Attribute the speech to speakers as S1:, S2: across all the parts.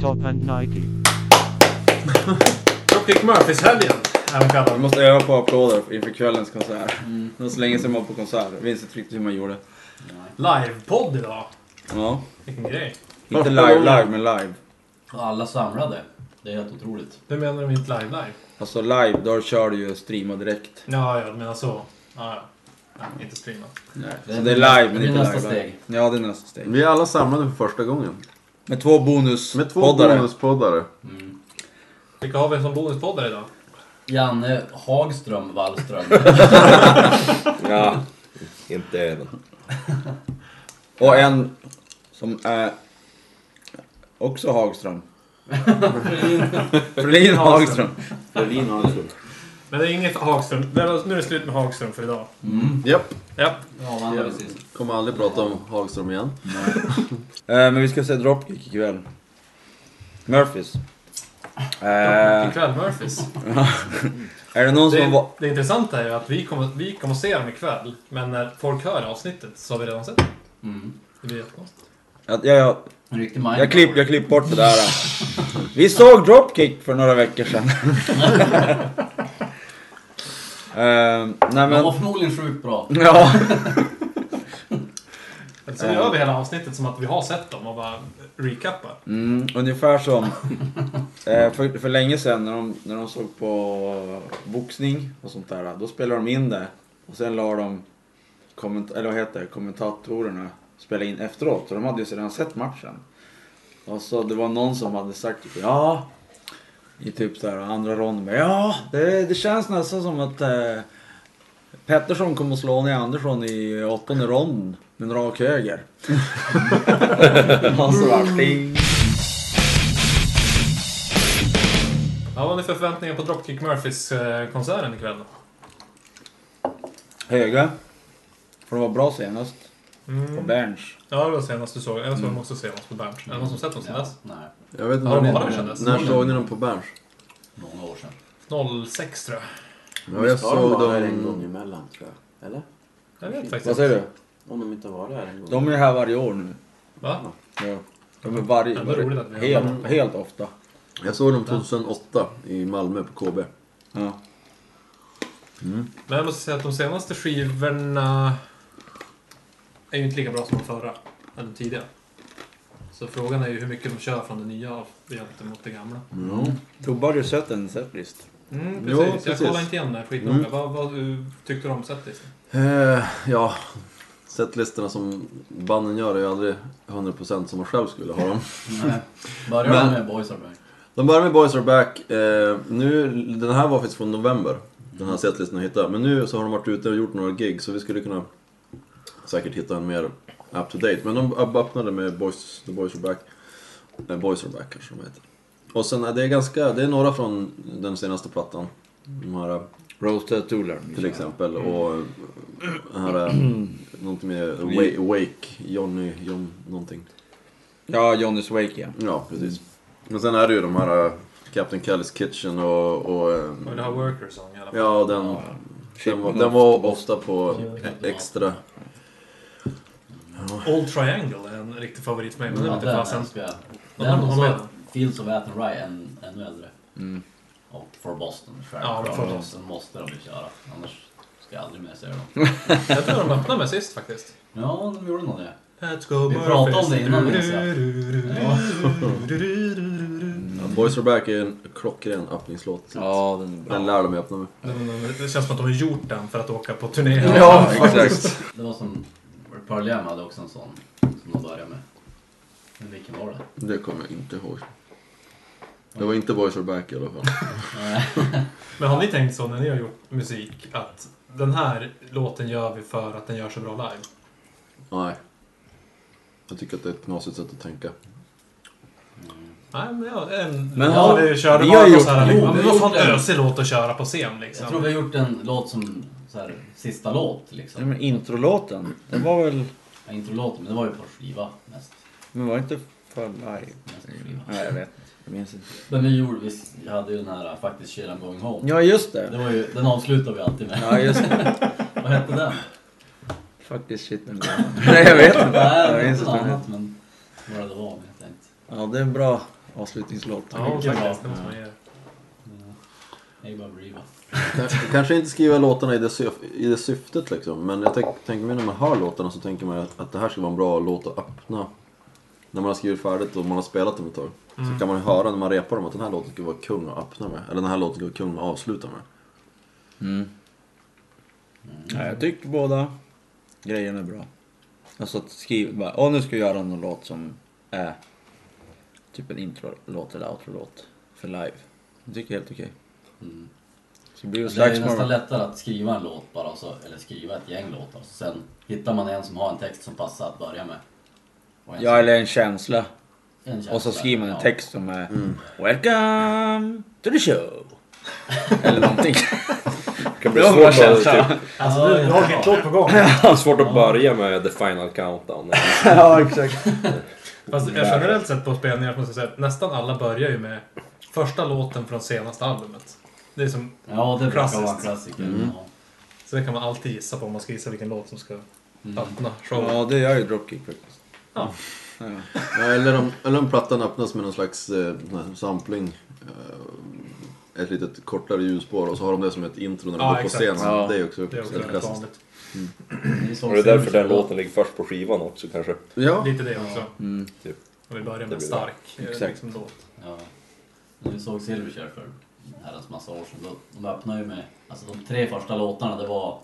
S1: 190.
S2: Dropkick Murphys-helgen, även kallad.
S3: Man måste öva på applåder inför kvällens konsert. Det var så länge sedan man var på konsert. Jag minns inte riktigt hur man gjorde.
S2: Livepodd idag.
S3: Ja.
S2: Vilken grej.
S3: Inte live, live, men live.
S4: Och alla samlade. Det är helt otroligt.
S2: Det menar du med inte live-live?
S3: Alltså live, då kör du ju streama direkt.
S2: Ja, ja, du menar så. Ja, ja. Nej, inte streama.
S3: Nej. Så det är live, men
S4: Det är
S3: inte
S4: nästa
S3: live. live.
S4: steg.
S3: Ja, det är nästa steg.
S5: Vi är alla samlade för första gången.
S3: Med två bonus
S5: Med två
S3: poddare.
S5: bonuspoddare.
S2: Vilka har vi som bonuspoddare idag?
S4: Janne Hagström Wallström.
S3: Ja.
S6: Inte en.
S3: Och en som är också Hagström. Frölin Hagström.
S6: Berlin har en
S2: Men det är inget Hagström. Det var- Nu är det slut med Hagström för idag.
S5: Japp.
S2: Japp.
S4: ja, han var precis.
S5: Kommer aldrig prata om Hagström igen.
S3: Eh, men vi ska se Dropkick ikväll. Murphys. Eh,
S2: Ikväll Murphys.
S3: är det någon som
S2: Det,
S3: har va-
S2: det intressanta är ju att vi kommer, vi kommer se dem ikväll. Men när folk hör avsnittet så har vi redan sett dem.
S4: Mm.
S2: Det blir jättekonstigt.
S3: Jag, jag, jag,
S4: En riktig mind.
S3: jag klipp, jag klipp bort det där. Vi såg Dropkick för några veckor sedan. Ehm, nej
S4: De var
S3: men...
S4: förmodligen sjukt bra.
S3: Ja.
S2: Så nu gör vi hela avsnittet som att vi har sett dem och bara recappar.
S3: Mm, ungefär som eh, för, för länge sedan när de, när de såg på boxning och sånt där. Då spelade de in det och sen la de komment, eller vad heter det, kommentatorerna spela in efteråt. Så de hade ju redan sett matchen. Och så det var någon som hade sagt typ ja. I typ så här andra ronden. bara, Ja, det, det känns nästan som att eh, Pettersson kommer att slå ner Andersson i åttonde ronden med en rak höger. och så bara, ding.
S2: Ja, vad har ni för förväntningar på Dropkick Murphys-konserten ikväll då?
S3: Höga. För de var bra senast. På
S2: Mm.
S3: Berns.
S2: Ja, det var senast du såg. Jag såg dem också senast på Berns. Är det någon som sett dem sen
S4: Ja,
S2: dess?
S4: nej,
S5: Jag vet inte
S2: Ja,
S5: när
S2: de var där sedan
S5: ni,
S2: dess.
S5: när såg ni dem på Berns?
S4: många år sedan.
S2: 06 tror jag.
S5: Ja, jag såg
S6: en gång
S5: dem...
S6: emellan tror jag. Eller?
S2: Jag vet faktiskt
S3: Vad säger
S2: inte.
S3: du?
S6: Om de inte har varit här en gång.
S3: De är ju här varje år nu.
S2: Va?
S3: Ja. De är varje...
S2: Ja, det är roligt att vi har
S3: helt, helt ofta.
S5: Jag såg dem 2008 i Malmö på KB.
S3: Ja.
S2: Men jag måste säga att de senaste skivorna är ju inte lika bra som de förra. Eller de tidigare. Så frågan är ju hur mycket de kör från det nya gentemot det gamla.
S3: Tobbe har ju sett en setlist.
S2: Mm, precis.
S5: Jo,
S2: Jag
S5: precis.
S2: kollade inte igen den skitnoga. Vad, vad uh, tyckte du om setlisten?
S5: Eh, ja, setlistorna som banden gör är ju aldrig 100% som man själv skulle ha dem.
S4: Nej. Börjar
S5: Men-
S4: med Boys eh. Are Back.
S5: De börjar med Boys Are Back. Eh, nu, den här var faktiskt från november, den här setlistan jag hittade. Men nu så har de varit ute och gjort några gig så vi skulle kunna säkert hitta en mer up to date. Men de öpp- öppnade med Boys, The Boys Are Back. Eh, Boys Are Back kanske de heter. Och sen är det, ganska, det är några från den senaste plattan. De här, eh,
S3: Roasted Tuller.
S5: till exempel. Och den här, eh, någonting med Wa- Wake, Johnny, John någonting.
S3: Ja, Johnny Wake ja.
S5: Ja, precis. Men sen är det ju de här eh, Captain Kelly's Kitchen och... och eh,
S2: Men det har Worker Song i alla fall.
S5: ja, den, den, var, den var ofta på extra.
S2: Old Triangle är en riktig favorit för mig, men den
S4: Ja,
S2: är inte
S4: den
S2: fasen.
S4: älskar jag.
S2: Vad
S4: Den
S2: har
S4: och
S2: de med
S4: så
S2: den?
S4: Fields of Atten Rye än, ännu äldre.
S3: Mm.
S4: Och For Boston.
S2: Ja,
S4: självklart.
S2: For Boston.
S4: Den måste de ju köra. Annars ska jag aldrig mer se dem.
S2: Jag tror de öppnade med sist faktiskt.
S4: Ja, de gjorde nog det.
S2: Let's go
S4: Vi pratade om det innan, minns jag.
S5: Ja, Boys Are Back är en klockren öppningslåt.
S3: Ja, den är bra.
S5: Den lär de ju öppna med.
S2: Det känns som att de har gjort den för att åka på turné.
S3: Ja, exakt.
S4: Det var som var det Pearl Jam hade också en sån som de började med. Men vilken var det?
S5: Det kommer jag inte ihåg. Det var inte Boys Are Back i alla fall.
S2: Men har ni tänkt så när ni har gjort musik att den här låten gör vi för att den gör så bra live?
S5: Nej. Jag tycker att det är ett knasigt sätt att tänka.
S2: Nej, men jag... En,
S3: Men
S2: ja,
S3: har-
S2: det körde
S3: vi
S2: bara
S3: har
S2: någon
S3: gjort-
S2: så här... liksom.
S4: jo,
S2: ja, men
S4: vi
S2: vad fan
S4: gjorde det.
S2: ösig låt att köra på scen liksom.
S4: Jag tror vi har gjort en låt som så här, sista låt liksom.
S3: Nej, men introlåten. Den var väl...
S4: Ja, inte låten, men det var ju på skiva mest.
S3: Men var inte för live?
S4: mest på skiva.
S3: Nej, jag vet inte. Jag minns inte.
S4: Men vi gjorde, vi hade ju den här faktiskt Shit I'm Going Home.
S3: Ja, just
S4: Det
S3: det.
S4: var ju, den avslutar vi alltid med.
S3: Ja, just det.
S4: Vad hette den?
S3: Faktiskt shit den Nej, jag vet inte.
S4: Nej,
S3: Jag
S4: det
S3: minns
S4: var något
S3: inte.
S4: annat men vad det var men jag tänkte.
S3: Ja, det är en bra, avslutningslåt.
S2: Ja,
S4: Mycket
S2: faktiskt. Det
S4: bra.
S2: måste man göra.
S4: Det är bara att driva.
S5: Kanske- Kanske inte skriva låtarna i det, syf- i det syftet liksom. Men jag tänk- tänker mig när man hör låtarna så tänker man ju att, att det här ska vara en bra låt att öppna. När man har skrivit färdigt och man har spelat dem ett tag. Så kan man ju höra när man repar dem att den här låten ska vara kung att öppna med. Eller den här låten ska vara kung att avsluta med.
S3: Mm. Ja, jag tycker båda grejerna är bra. Alltså att skriva bara, åh nu ska vi göra någon låt som är typ en introlåt eller outro-låt för live. Jag tycker det är helt okej.
S4: Mm.
S3: Så det blir ju
S4: Det är ju
S3: slagsmål.
S4: nästan lättare att skriva en låt bara, och så, eller skriva ett gäng låtar. Så sen hittar man en som har en text som passar att börja med. Och en
S3: Ja,
S4: som-
S3: eller en känsla.
S4: en känsla.
S3: Och så skriver man en
S4: Ja.
S3: text som är Welcome to the show. eller någonting.
S6: kan bli
S3: Det var
S6: svårt,
S3: bara
S6: att,
S3: känslan.
S6: typ,
S4: Alltså, nu, jag har
S1: låt på gång.
S6: svårt att börja med the final countdown.
S3: ja, exakt.
S2: Fast jag generellt sett på spelningar måste jag säga att nästan alla börjar ju med första låten från senaste albumet. Det är som,
S4: Ja, det brukar vara en
S2: Klassiskt.
S4: klassiker.
S3: Mm.
S4: Ja.
S2: så det kan man alltid gissa på om man ska gissa vilken låt som ska öppna showen.
S3: Ja, det gör ju Dropkick faktiskt.
S5: Ja, eller, om, eller om plattan öppnas med någon slags eh, sån här sampling. Eh, ett litet kortare ljusspår och så har de det som ett intro när de
S2: Ja,
S5: går på
S2: exakt.
S5: scenen.
S3: Ja.
S5: Det är ju också,
S2: Det är också
S5: ett
S2: rätt
S5: klassiskt.
S2: vanligt.
S4: Det är så
S6: Och det är därför den
S4: Simonsen-
S6: låten ligger först på skivan också kanske.
S5: Ja,
S2: Lite det också.
S3: Mm.
S6: Typ.
S2: Om vi börjar
S6: Det
S2: med en
S6: blir bra.
S2: stark eh,
S3: Exakt.
S2: liksom, låt.
S4: Ja. När vi såg Silverchair för en herrans massa år sedan, då, de öppnade ju med... Alltså de tre första låtarna, det var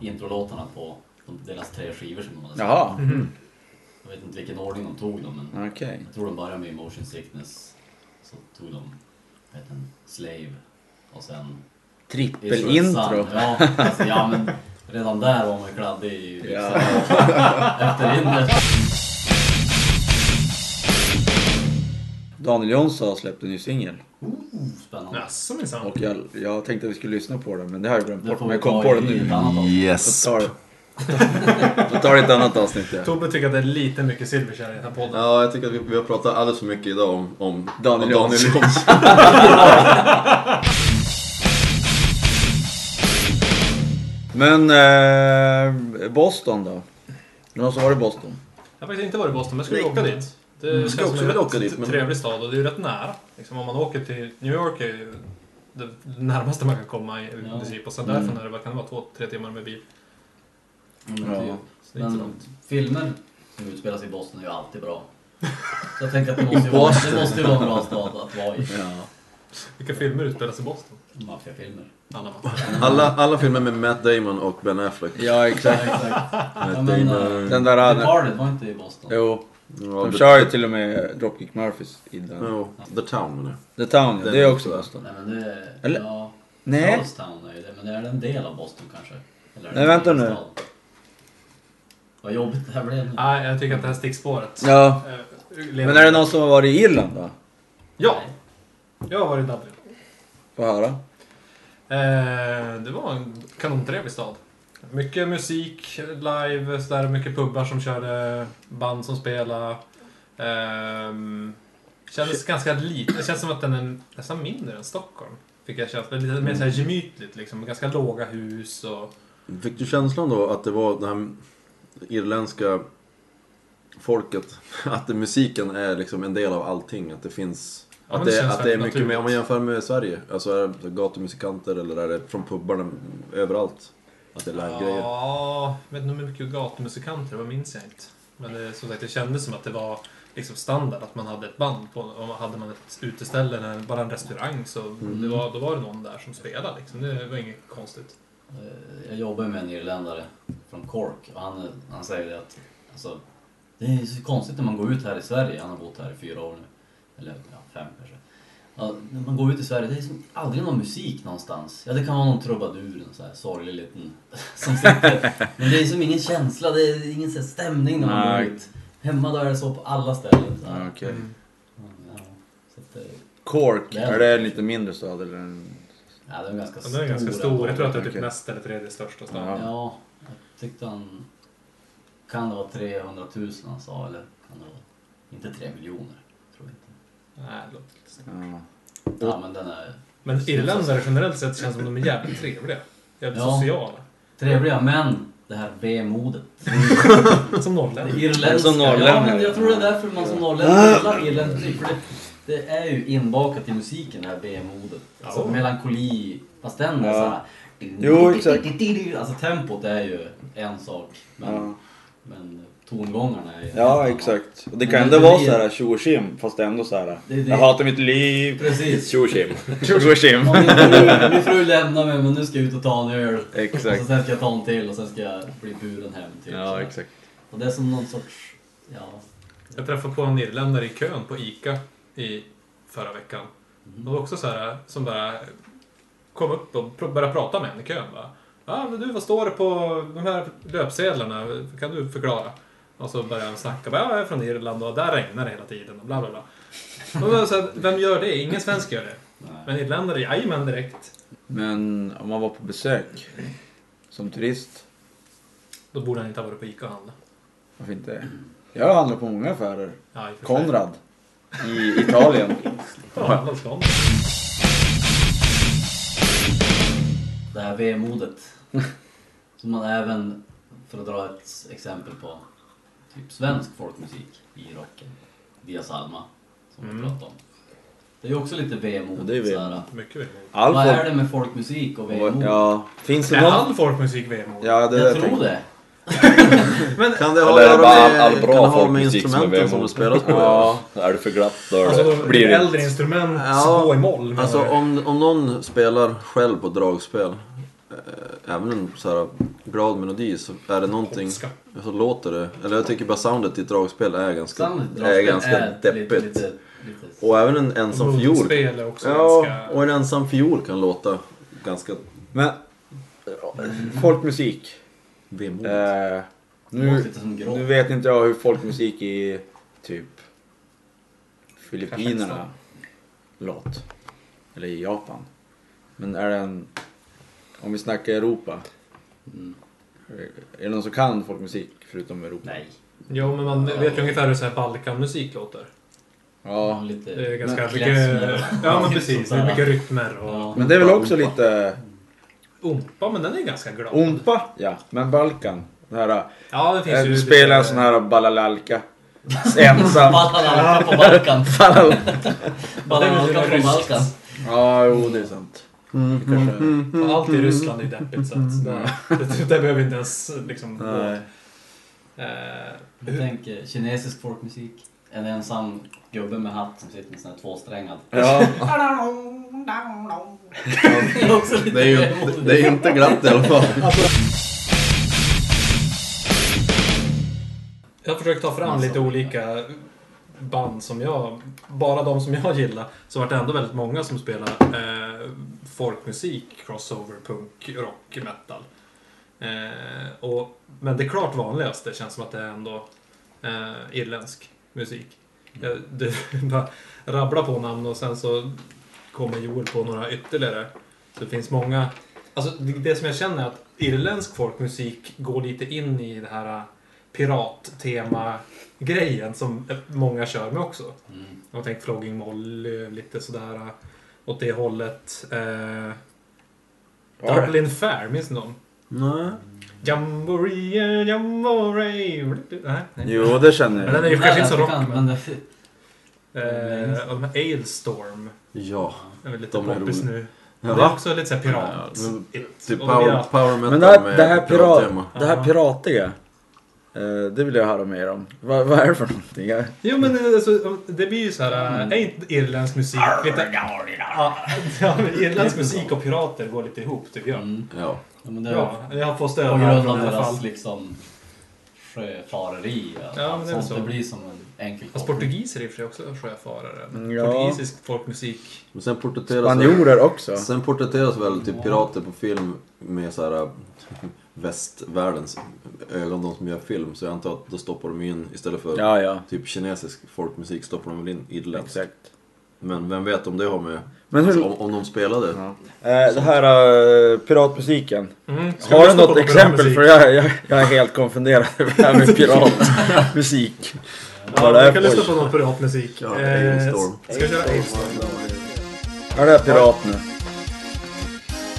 S4: introlåtarna på de, deras tre skivor som de hade släppt.
S3: Jaha,
S2: Mhm.
S4: Jag vet inte vilken ordning de tog dem, men
S3: okej.
S4: jag tror de började med Motion Sickness. Så tog de, vad heter den, Slave. Och sen... Israel
S3: Trippelintro.
S4: Sun. Ja, alltså, ja, men redan där var man ju kladdig i
S3: Ja.
S4: efter hindret.
S3: Daniel Jonsson har släppt en ny singel.
S4: Spännande.
S2: Jaså minsann.
S3: Och jag, jag tänkte att vi skulle lyssna på den, men det har jag glömt
S4: Det
S3: bort.
S4: får
S3: Men
S4: vi
S3: jag kom
S4: ta
S3: på det
S4: i ett
S3: nu.
S4: annat avsnitt.
S5: yes.
S3: Så tar, då tar det ett annat avsnitt. Ja.
S2: Tobbe tycker att det är lite mycket Silverchair i den här podden.
S5: Ja, jag tycker att vi, vi har pratat alldeles för mycket idag om, om
S3: Daniel
S5: om
S3: Jonsson.
S5: Jonsson.
S3: Men eh, Boston då? Någon som var i Boston?
S2: Jag har faktiskt inte varit i Boston, men jag skulle
S5: Nej.
S2: åka dit. Det
S5: ska
S2: känns som
S5: också
S2: en
S5: vilja
S2: rätt
S5: åka dit, men-
S2: trevlig stad och det är ju rätt nära. Liksom, om man åker till New York är ju det närmaste man kan komma i
S4: Ja.
S2: princip. Och sen därifrån är det, vad kan det vara, två, tre timmar med bil.
S4: Ja, men
S3: Ja.
S4: typ.
S2: Så det är inte
S4: Men
S2: långt.
S4: filmer som utspelas i Boston är ju alltid bra. Så jag tänker att det måste ju vara, det måste ju vara en bra stad att vara i.
S3: Ja.
S2: Vilka filmer utspelas i Boston?
S4: Maffiafilmer.
S2: Alla man.
S5: Alla, alla filmer med Matt Damon och Ben Affleck.
S3: Ja,
S4: Ja,
S3: exakt.
S4: exakt.
S5: Matt
S4: Ja, men,
S2: eh,
S5: Damon.
S3: Den där...
S4: The
S3: Han,
S4: Parted var inte i Boston.
S3: jo,
S5: ja,
S3: de
S5: the,
S3: kör ju till och med Dropkick Murphys i
S6: typ-
S3: den.
S5: ja, the Town menar jag.
S3: The Town, ja.
S5: Den
S3: Det
S5: är
S3: är
S5: också
S3: också
S5: där.
S3: Boston.
S4: Nej men det...
S3: Eller-
S4: Ja,
S3: Nej,
S4: Charlestown är ju det, men är det en del av Boston kanske? Eller är det
S3: Nej,
S4: en
S3: vänta
S4: egen
S3: nu.
S4: stad? Vad jobbigt det här blev nu.
S2: Nej, jag tycker att det här stickspåret...
S3: ja.
S2: eh,
S3: Men är det någon som har varit i Irland då?
S2: Ja! Jag har varit i Dublin.
S3: Få höra.
S2: Eh, det var en kanontrevlig stad. Mycket musik live, så där, mycket pubbar som körde, band som spelade. Ehm, kändes ganska liten. Det känns som att den är nästan mindre än Stockholm. Fick jag känslan. Lite mer så här gemytligt liksom. Ganska låga hus och...
S5: Fick du känslan då att det var det här irländska folket, att det- musiken är liksom en del av allting? Att det finns...
S2: Ja,
S5: att
S2: men det
S5: det,
S2: känns
S5: att det är
S2: väldigt
S5: mycket mer, om man
S2: naturligt.
S5: jämför med Sverige, alltså är det gatumusikanter eller är det från pubarna överallt? Att det är live-grejer?
S2: Ja, jag vet inte hur mycket gatumusikanter det var, minns jag inte. Men det, som sagt, det kändes som att det var liksom standard att man hade ett band. På, om man hade man ett uteställe eller bara en restaurang så
S3: Mm.
S2: det var, då var det någon där som spelade. Liksom. Det var inget konstigt.
S4: Eh, Jag jobbar med en irländare från Cork och han, han säger det att alltså, det är så konstigt när man går ut här i Sverige, han har bott här i fyra år nu, eller ja, fem kanske. Ja, när man går ut i Sverige, det är som aldrig någon musik någonstans. Ja, det kan vara någon trubadur, en så här sorglig liten som sitter. Men det är som ingen känsla, det är ingen så här stämning när man
S3: Nej.
S4: går ut. Hemma då är det så på alla ställen. Så här.
S3: Okej.
S2: Mm.
S4: Ja, så att, eh, det-
S3: Cork,
S4: Ja.
S3: är det en lite mindre stad eller? En...
S4: ja, det är en ganska
S2: Ja,
S4: stor.
S2: den är ganska stor. Jag tror att det är typ
S3: Okej.
S2: näst eller tredje största stad.
S3: Ja.
S4: Ja, jag tyckte han... Kan det vara 300 000 han sa, eller? Kan det vara... Inte 3 miljoner, tror jag inte.
S2: Nej, det låter inte så.
S3: Ja.
S4: Ja, men den är
S2: Men irländare generellt sett känns som de är jävligt trevliga. Jävligt
S4: Ja.
S2: sociala.
S4: trevliga, men det här vemodet.
S3: Mm.
S2: Som norrlänningar.
S4: Irländska.
S3: Som
S4: Ja,
S3: norrlänning.
S4: men jag tror det är därför man som norrlänning gillar Irland. För det, det är ju inbakat i musiken det här vemodet. Alltså
S2: Ja.
S4: melankoli, fast den är
S3: Ja.
S4: såhär...
S3: Jo, exakt.
S4: Alltså tempot är ju en sak, men,
S3: Ja,
S4: men tongångarna är ju... en
S3: ja
S4: annan.
S3: exakt. Och det kan
S4: Men
S3: ändå
S4: det
S3: vara
S4: blir-
S3: så här tjo och tjim fast ändå så här.
S4: Det- det-
S3: Jag hatar mitt liv.
S4: Precis.
S6: Tjo och tjim.
S3: Tjo och tjim.
S4: Ja, Min fru, min fru lämnar mig men nu ska jag ut och ta en öl.
S3: Exakt.
S4: Och sen ska jag ta en till och sen ska jag bli buren hem. Typ.
S3: Ja, exakt.
S4: Och det är som någon sorts... Ja.
S2: Jag träffade på en irländare i kön på ICA i förra veckan.
S3: Mm.
S2: De var också så här som bara kom upp och pr- började prata med en i kön. Bara, ah, men du, vad står det på de här löpsedlarna? Kan du förklara? Och så började han snacka. Bara, "Ja, jag är från Irland och där regnar det hela tiden. Och bla, bla, bla. Och då var jag så här, vem gör det? Ingen svensk gör det. Men irländare, jajamän direkt.
S3: Men om man var på besök som turist,
S2: Då borde han inte ha varit på ICA och handlat.
S3: varför inte? Jag har handlat på många affärer.
S2: Ja, i och för sig.
S3: Konrad i Italien.
S2: Ja, handlat hos Konrad.
S4: Det här vemodet. Som man även, för att dra ett exempel på, typ svensk folkmusik i rocken. Via Salma, som vi pratade om. Det är ju också lite
S3: Mm.
S4: vemod.
S3: Ja, det är vemod.
S4: såhär.
S2: Mycket vemod.
S3: All
S4: Vad är
S3: folk...
S4: det med folkmusik och vemod?
S3: Ja, finns det
S2: Är
S3: någon...
S2: all folkmusik vemod?
S3: Ja, det är
S4: jag
S3: det
S4: tror
S3: tänkte.
S4: det.
S2: Men
S5: Kan det ha
S6: Eller
S5: att göra
S6: bara all-
S5: med,
S6: all
S5: kan
S6: bra
S5: det ha med
S6: folkmusik som är
S5: instrumenten som
S6: vemod?
S5: det spelas på?
S3: Ja.
S6: Är det för glatt då är
S2: Alltså
S6: det- blir det
S2: äldre instrument,
S5: Ja.
S2: små i moll menar
S5: Alltså
S2: du?
S5: om, om någon spelar själv på dragspel, eh, även en så här glad melodi, så är det någonting...
S2: Polska.
S5: Så låter det. Eller jag tycker bara soundet i ett dragspel är ganska,
S4: Soundet
S5: är ganska deppigt.
S4: Lite, lite, lite.
S5: Och även en ensam fiol.
S2: Motspel är också
S5: Ja,
S2: ganska...
S5: och en ensam fiol kan låta ganska
S3: Men... eh, Folkmusik.
S5: vemodigt.
S3: Eh,
S4: Låter
S3: nu,
S4: lite som
S3: nu
S4: gråt.
S3: vet inte jag hur folkmusik i typ Filippinerna låt. Eller i Japan. Men är den... Om vi snackar Europa.
S4: Mm.
S3: Är det någon som kan folkmusik förutom Europa?
S4: Nej.
S2: Jo, men man vet ju ungefär hur sån här Balkanmusik låter.
S3: Ja.
S4: Lite
S2: Det är ganska
S4: men-
S2: mycket...
S4: klezmer.
S2: Ja, men precis. Det är
S4: Sånt
S2: mycket
S4: där.
S2: rytmer och...
S4: Ja.
S3: Men det är väl också lite...
S2: Ompa, men den är ganska glad.
S3: Ompa? Ja, men Balkan. Det här,
S2: Ja, det finns
S3: äh,
S2: ju...
S3: du
S2: lite-
S3: spelar en sån här balalalka. Ensam.
S4: Balkan på Balkan.
S3: Balal-
S4: Balkan på
S2: ryskt.
S4: Balkan.
S3: ja, jo det är sant. Det
S2: Och
S3: kanske-
S2: Mm. Allt
S5: Mm.
S2: i Ryssland är ju deppigt, så att... Det, det där behöver vi inte ens liksom... gå.
S3: Nej.
S2: Eh,
S4: Jag tänker kinesisk folkmusik. En ensam gubbe med hatt som sitter med sån här tvåsträngad.
S3: Ja,
S4: Det är också lite Mm.
S5: Det är ju
S4: vemodigt.
S5: det är ju inte glatt i alla fall.
S2: Jag har försökt ta fram lite olika band som jag... Bara de som jag gillar. Så vart det ändå väldigt många som spelar eh, folkmusik, crossover, punk, rock, metal. Eh, och, men det klart vanligaste känns som att det är ändå eh, irländsk musik. Jag, du bara rabblar på namn och sen så kommer Joel på några ytterligare. Så det finns många... Alltså det, det som jag känner är att irländsk folkmusik går lite in i det här eh, pirattema-grejen som många kör med också.
S4: Mm.
S2: Jag har tänkt Flogging Molly, lite sådär eh, åt det hållet. Eh,
S3: Var det?
S2: Dublin Fair, minns ni någon?
S5: Nej.
S2: Jamboree, jamboree... Nej, nej.
S3: jo det känner
S2: Men
S3: jag.
S2: den är ju kanske inte så
S4: Nej,
S2: rock.
S4: jag kan,
S2: Men,
S4: men det-
S2: eh, och de här Ailstorm
S5: Ja.
S2: är väl lite
S5: De är
S2: poppis
S5: roliga.
S2: nu. Det
S5: Ja,
S2: är
S5: va?
S2: också lite såhär pirat.
S5: Ja, men
S2: It-
S5: Typ
S2: och
S5: power,
S2: pirat.
S5: power metal
S3: Men det här,
S5: med
S3: det här,
S5: pirattema.
S3: pirat, det här piratiga. eh, Det vill jag höra mer om. Vad, vad är det för någonting? Jag-
S2: Jo men eh, alltså, det blir ju såhär,
S5: Mm.
S2: eh, är inte irländsk musik lite... Ja, ja, men irländsk musik och pirater går lite ihop tycker jag.
S4: Mm.
S5: Ja.
S4: Ja, men det är
S2: Ja, jag får stöd
S4: på
S2: här
S4: grund
S2: från
S4: av
S2: i alla
S4: deras
S2: fall.
S4: liksom sjöfareri. och
S2: Ja, men det är
S4: sånt.
S2: så.
S4: Det blir som en enkel
S2: Fast portugiser är i och för sig också sjöfarare.
S3: Mm, ja.
S2: Portugisisk folkmusik.
S5: Men sen
S3: alltså-
S5: porträtteras
S3: Spanjorer också.
S5: Sen porträtteras väl typ pirater på film med så här äh, västvärldens ögon, de som gör film. Så jag antar att då stoppar de in, istället för
S3: Ja, ja.
S5: typ kinesisk folkmusik, stoppar de väl in irländsk.
S3: Exakt.
S5: Men vem vet om det har med...
S3: Men
S5: Alltså,
S3: hur...
S5: om, om de spelade.
S3: Ja. Eh, Det här eh, piratmusiken.
S2: Mm. Ska
S3: Har
S2: vi
S3: du
S2: lyssna
S3: något
S2: på
S3: exempel?
S2: populärmusik?
S3: För jag, jag, jag är helt konfunderad över det här med piratmusik. Vad det
S2: Ja,
S3: är
S2: vi kan
S3: för-
S2: lyssna på någon piratmusik.
S5: Ja,
S2: Eh,
S5: Ainstorm.
S2: Ska vi köra Ainstorm?
S3: Ja, det är pirat nu.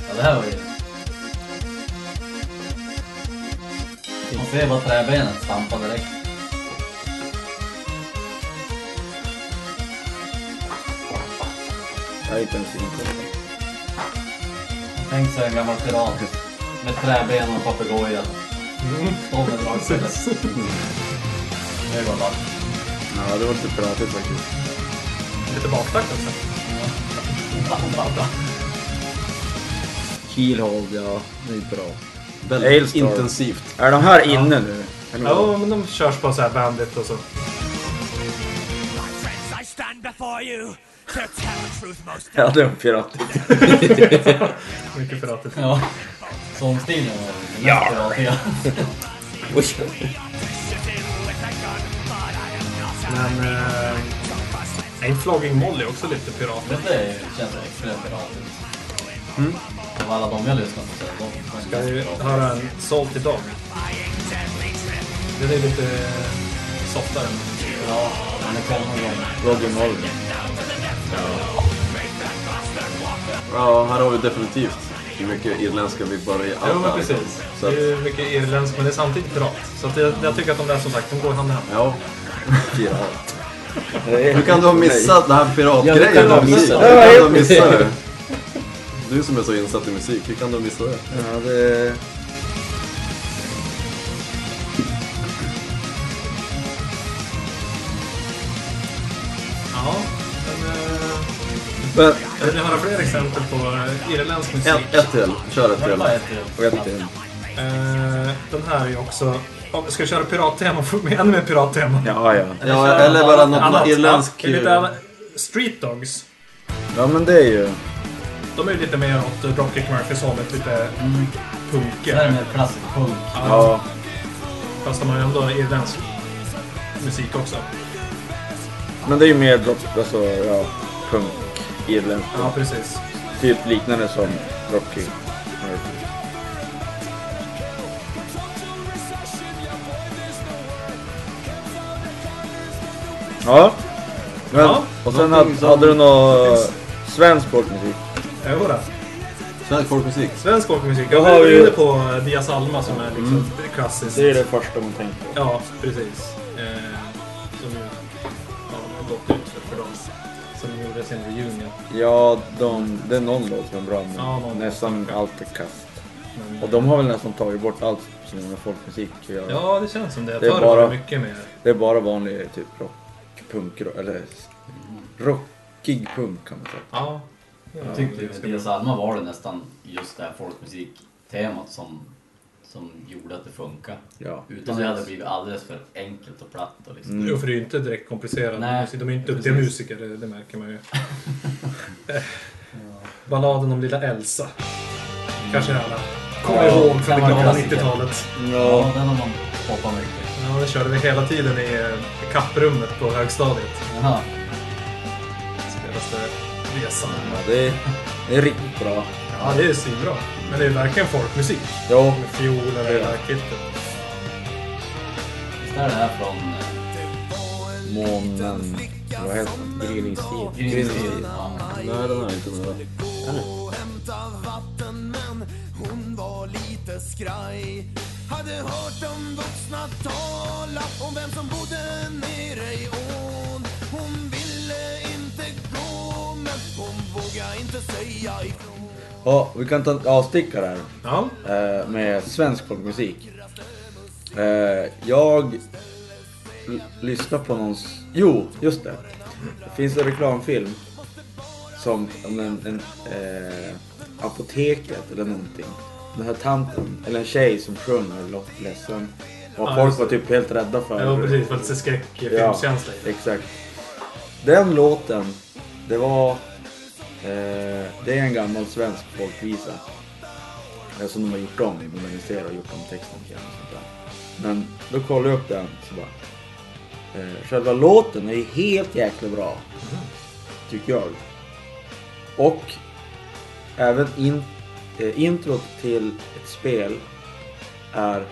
S4: Ja, det här var ju... Man ser bara träbenet stampa direkt.
S3: Jag är inte ens inkopplat.
S4: Tänk sig en gammal pirat med träben och papegoja. Står med dragspel. Det går bra.
S3: Ja, det var lite pratigt faktiskt.
S2: Lite baktakt också.
S3: Keelhold, ja. Det är bra.
S5: Väldigt
S3: Hailstorm.
S5: intensivt.
S3: Är de här inne nu? Eller
S2: Ja,
S3: vad?
S2: men de körs på så här bandit och så.
S1: My friends, I stand before you to tell the truth most
S3: Ja, det var piratigt.
S2: Mycket piratigt.
S4: Ja. Sångstilen var den mest piratiga.
S1: shitting with a gun, but I am not
S2: Men... Eh, är inte Flogging Molly också lite pirat?
S4: Detta är- känns extremt piratiskt. Av alla de jag lyssnat på så är det de som
S2: Mm. Ska
S4: är
S2: vi
S4: mest piratiga.
S2: höra en Salty Dog?
S1: buying deadly trip.
S2: Den är lite softare.
S4: Ja, men det kommer någon
S3: Roger Molly.
S5: Ja, här har vi definitivt hur mycket irländska vibbar i allt
S2: Jo, men
S5: här.
S2: precis.
S5: Så
S2: Det
S5: att,
S2: är ju mycket irländskt, men det är samtidigt pirat. Så att jag, jag tycker att de där som sagt, de går hand i hand.
S5: ja.
S3: Pirat.
S5: Hur kan du ha missat den här
S4: Ja, det kan
S5: piratgrejen?
S4: jag ha missat.
S5: Hur kan du ha missat det? Du som är så insatt i musik, hur kan du ha missat det?
S3: Ja, det...
S2: Ja, men... Eh,
S5: Men,
S3: Äh,
S2: jag vill höra fler exempel på eh, irländsk musik.
S5: ett, ett till. Kör ett till.
S4: Vad är det?
S3: Vet inte.
S2: Eh, den här är ju också... Ja, Ska jag köra pirattema? Får vi ännu mer pirattema?
S3: Ja, ja.
S5: Ja, eller bara något
S2: Annat.
S5: irländsk... eh,
S2: Ja, det är lite annat. Street Dogs.
S3: Ja, men det är ju...
S2: De är ju lite mer åt eh, Dropkick Murphys hållet, lite
S4: Det här är
S5: Mm.
S2: punkiga.
S4: mer klassisk punk.
S3: Ja.
S2: Fast de har ju ändå irländsk musik också.
S3: Men det är ju mer drop... Alltså, ja. Punk. Irländsk.
S2: Ja, precis.
S3: Typ liknande som Rocky. Ja. Men,
S2: Ja.
S3: Och sen
S5: Någonting
S3: hade,
S5: som-
S3: hade du någon svensk folkmusik.
S2: Jodå.
S5: Svensk folkmusik.
S2: Svensk folkmusik.
S3: Då
S2: Jag
S3: har
S2: var
S3: vi-
S2: inne på eh, Dias Alma som är liksom klassiskt.
S3: det första man tänker på.
S2: Ja, precis. Eh, som ju ja, de har gått ut för dem. Som gjorde sin reunion.
S3: Ja, de, det är någon låt som är bra men
S2: Ja, någon.
S3: nästan allt är kast.
S2: Men,
S3: Och de har väl nästan tagit bort allt som har med folkmusik att göra.
S2: Ja, det känns som det.
S3: Det är
S2: Förr var det
S3: bara-
S2: mycket mer.
S3: Det är bara vanlig typ rock, punk, eller rockig punk kan man säga.
S2: Ja.
S4: Jag tyckte ju med Dias Alma var det nästan just det här folkmusiktemat som, som gjorde att det funkade.
S3: Ja.
S4: Utan det hade det blivit alldeles för enkelt och platt och liksom.
S3: Mm.
S2: Jo, för det är ju inte direkt komplicerat.
S4: Nej,
S2: musik. De är ju inte duktiga
S4: precis.
S2: musiker, det, det märker man ju. Eh, Balladen om lilla Elsa. Kanske alla kommer
S4: Ja,
S2: ihåg från
S4: kan
S2: det
S4: vara
S2: glada
S4: klassiker.
S2: 90-talet.
S4: Ja, den har man hoppat mycket.
S2: Ja, det körde vi hela tiden i eh, kapprummet på högstadiet.
S4: Jaha.
S2: Spelas det resan.
S3: Ja, det, är, det är riktigt bra.
S2: Ja, det är svinbra. Men det är ju verkligen folkmusik.
S3: Ja,
S2: Med fioler och hela kittet.
S4: Visst är det här från eh,
S3: månen... Vad heter den? Gryningstid.
S4: Green Steel? Ja.
S5: Nej, den är inte med.
S3: Ja, vi kan ta en avstickare här.
S2: Ja,
S3: eh, med svensk folkmusik. Eh, jag l- lyssnar på någons... Jo, just det. Det finns en reklamfilm som om en, en eh, apoteket eller någonting. Den här tanten, eller en tjej som sjunger låt ledsen. Och
S2: Ja,
S3: folk
S2: just
S3: var typ helt rädda för
S2: ja precis. För lite skräckfilmskänsla i det.
S3: Exakt. Den låten, det var... Eh, det är en gammal svensk folkvisa. Eh, som de har gjort om, moderniserat och gjort om texten till. och sånt där. Men då kollade jag upp den så bara... Eh, själva låten är ju helt jäkla bra. Tycker jag. Och även in, eh, introt till ett spel är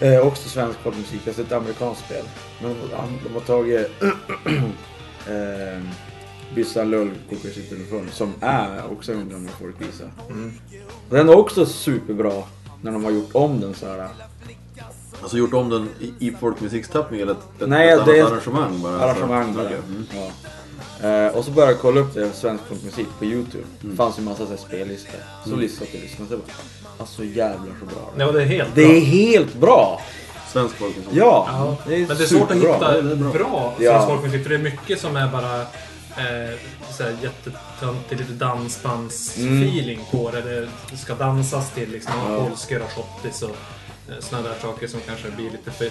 S3: eh, också svensk popmusik, alltså ett amerikanskt spel. Men de, har- de har tagit eh, Byssan Lull, Kokars Interlofon, som är också en gammal folkvisa.
S2: Mm.
S3: Den är också superbra när de har gjort om den så här.
S5: Alltså gjort om den i, i folkmusiktappning eller ett, ett,
S3: Nej,
S5: ett
S3: det är-
S5: annat arrangemang bara?
S3: Arrangemang
S5: alltså.
S3: bara.
S5: Okej, mm.
S3: Ja. Eh, och så började jag kolla upp det, svensk punkmusik på YouTube.
S2: Mm.
S3: Det fanns ju massa så här spellistor. Så lyssnade jag och lyssnade. Så jag bara, alltså jävlar så bra det
S2: Nej,
S3: är.
S2: men det är helt
S3: Det
S2: bra.
S3: är helt bra!
S5: Svensk folkmusik.
S3: Ja!
S2: Ja,
S3: Det är
S2: men det är svårt att
S3: superbra.
S2: hitta
S5: det är
S2: bra,
S5: bra.
S3: Ja.
S2: svensk folkmusik för det är mycket som är bara eh, såhär jättetöntig, lite dansbandsfeeling på det. Det ska dansas till liksom
S3: Mm. Ja.
S2: polskor och schottis och eh, sådana där saker som kanske blir lite för